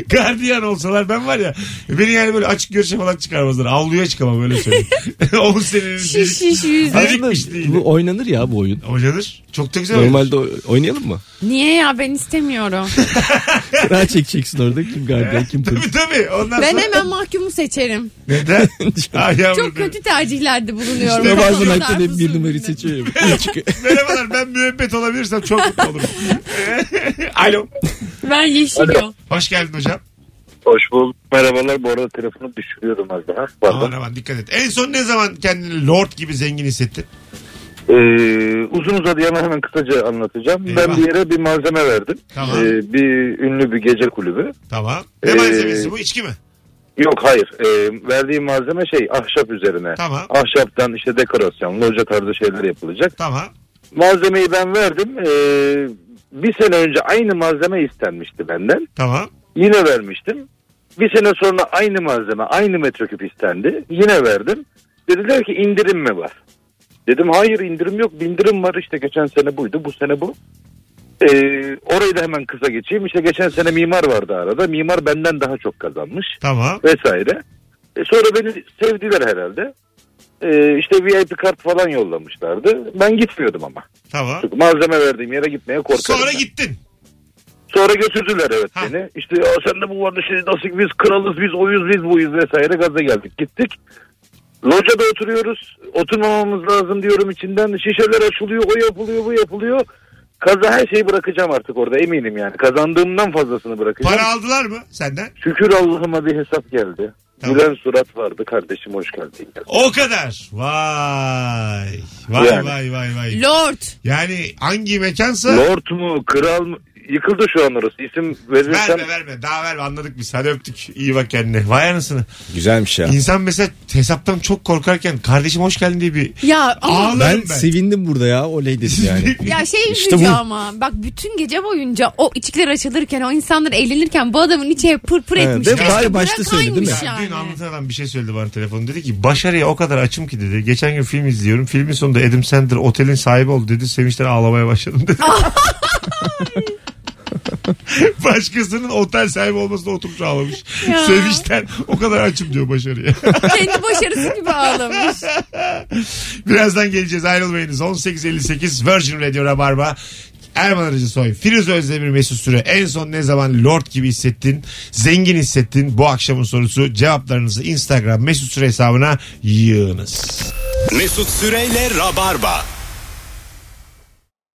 Speaker 2: Gardiyan olsalar ben var ya beni yani böyle açık görüşe falan çıkarmazlar. Avluya çıkamam öyle söyleyeyim. 10 senenin
Speaker 3: Şiş
Speaker 2: delik,
Speaker 3: şiş yüz.
Speaker 2: delikmiş değil.
Speaker 4: Bu oynanır ya bu oyun.
Speaker 2: Oynanır. Çok da güzel
Speaker 4: Normalde o- oynayalım mı?
Speaker 3: Niye ya ben istemiyorum.
Speaker 4: Kura çekeceksin orada kim gardiyan kim polis.
Speaker 2: Tabii tabii. Ondan
Speaker 3: ben
Speaker 2: sonra...
Speaker 3: hemen mahkumu seçerim.
Speaker 2: Neden? Ay yavrum
Speaker 3: Çok kötü tercihlerde bulunuyorum.
Speaker 4: İşte bazen
Speaker 3: Kadınlar
Speaker 4: hakikaten hep
Speaker 3: hususunda.
Speaker 4: bir numarayı seçiyorum.
Speaker 2: Merhabalar ben müebbet olabilirsem çok mutlu olurum. Alo.
Speaker 3: Ben yeşil yol.
Speaker 2: Hoş geldin hocam.
Speaker 13: Hoş bulduk. Merhabalar. Bu arada telefonu düşürüyorum az daha.
Speaker 2: Aman aman dikkat et. En son ne zaman kendini lord gibi zengin hissettin?
Speaker 13: Ee, uzun uzadıya ben hemen kısaca anlatacağım.
Speaker 2: Eyvah.
Speaker 13: Ben bir yere bir malzeme verdim.
Speaker 2: Tamam.
Speaker 13: Ee, bir ünlü bir gece kulübü.
Speaker 2: Tamam. Ne
Speaker 13: Ee,
Speaker 2: malzemesi bu içki mi?
Speaker 13: Yok hayır. Ee, verdiğim malzeme şey ahşap üzerine.
Speaker 2: Tamam.
Speaker 13: Ahşaptan işte dekorasyon, loca tarzı şeyler yapılacak.
Speaker 2: Tamam.
Speaker 13: Malzemeyi ben verdim. Ee, bir sene önce aynı malzeme istenmişti benden.
Speaker 2: Tamam.
Speaker 13: Yine vermiştim. Bir sene sonra aynı malzeme, aynı metreküp istendi. Yine verdim. Dediler ki indirim mi var? Dedim hayır indirim yok. Bindirim var işte geçen sene buydu, bu sene bu. Ee, orayı da hemen kısa geçeyim. İşte geçen sene mimar vardı arada. Mimar benden daha çok kazanmış
Speaker 2: Tamam.
Speaker 13: vesaire. E sonra beni sevdiler herhalde. E, işte VIP kart falan yollamışlardı. Ben gitmiyordum ama.
Speaker 2: Tamam.
Speaker 13: Çünkü malzeme verdiğim yere gitmeye korkarım.
Speaker 2: Sonra
Speaker 13: ben.
Speaker 2: gittin.
Speaker 13: Sonra götürdüler evet beni. İşte ya sende bu vardı şey nasıl biz kralız biz oyuz biz buyuz vesaire gaza geldik gittik. Locada oturuyoruz. Oturmamamız lazım diyorum içinden. Şişeler açılıyor o yapılıyor bu yapılıyor. Kaza her şeyi bırakacağım artık orada eminim yani. Kazandığımdan fazlasını bırakacağım.
Speaker 2: Para aldılar mı senden?
Speaker 13: Şükür Allah'ıma bir hesap geldi. Gülen surat vardı kardeşim hoş geldin.
Speaker 2: O kadar. Vay. Vay
Speaker 13: Yani.
Speaker 2: vay vay vay.
Speaker 3: Lord.
Speaker 2: Yani hangi mekansa
Speaker 13: Lord mu kral mı yıkıldı şu an orası isim verirsem.
Speaker 2: verme verme daha verme anladık biz hadi öptük iyi bak kendine vay anasını
Speaker 4: Güzelmiş ya.
Speaker 2: İnsan mesela hesaptan çok korkarken kardeşim hoş geldin diye bir
Speaker 3: Ya ama
Speaker 2: ağlarım
Speaker 4: Ben
Speaker 2: ben,
Speaker 4: sevindim burada ya o ladies yani.
Speaker 3: Ya şey
Speaker 4: İşte
Speaker 3: üzücü
Speaker 4: bu.
Speaker 3: ama bak bütün gece boyunca o içkiler açılırken o insanlar eğlenirken bu adamın içi pır pır
Speaker 2: Evet,
Speaker 3: etmiş.
Speaker 2: değil mi?
Speaker 3: Keşke
Speaker 2: Bari
Speaker 4: başta söyledi değil mi?
Speaker 3: bırakaymış
Speaker 2: Ya
Speaker 3: Yani.
Speaker 2: Dün anlatan adam bir şey söyledi bana telefonu. Dedi ki başarıya o kadar açım ki dedi. Geçen gün film izliyorum. Filmin sonunda Adam Sandler otelin sahibi oldu dedi. Sevinçten ağlamaya başladım dedi. Başkasının otel sahibi olmasına oturup ağlamış.
Speaker 3: Ya.
Speaker 2: Sevinçten o kadar açım diyor başarıya.
Speaker 3: Kendi başarısı gibi ağlamış.
Speaker 2: Birazdan geleceğiz ayrılmayınız. 18.58 Virgin Radio Rabarba. Erman Arıcı Soy, Firuze Özdemir Mesut Süre. En son ne zaman lord gibi hissettin, zengin hissettin? Bu akşamın sorusu cevaplarınızı Instagram Mesut Süre hesabına yığınız.
Speaker 1: Mesut Süreyle Rabarba.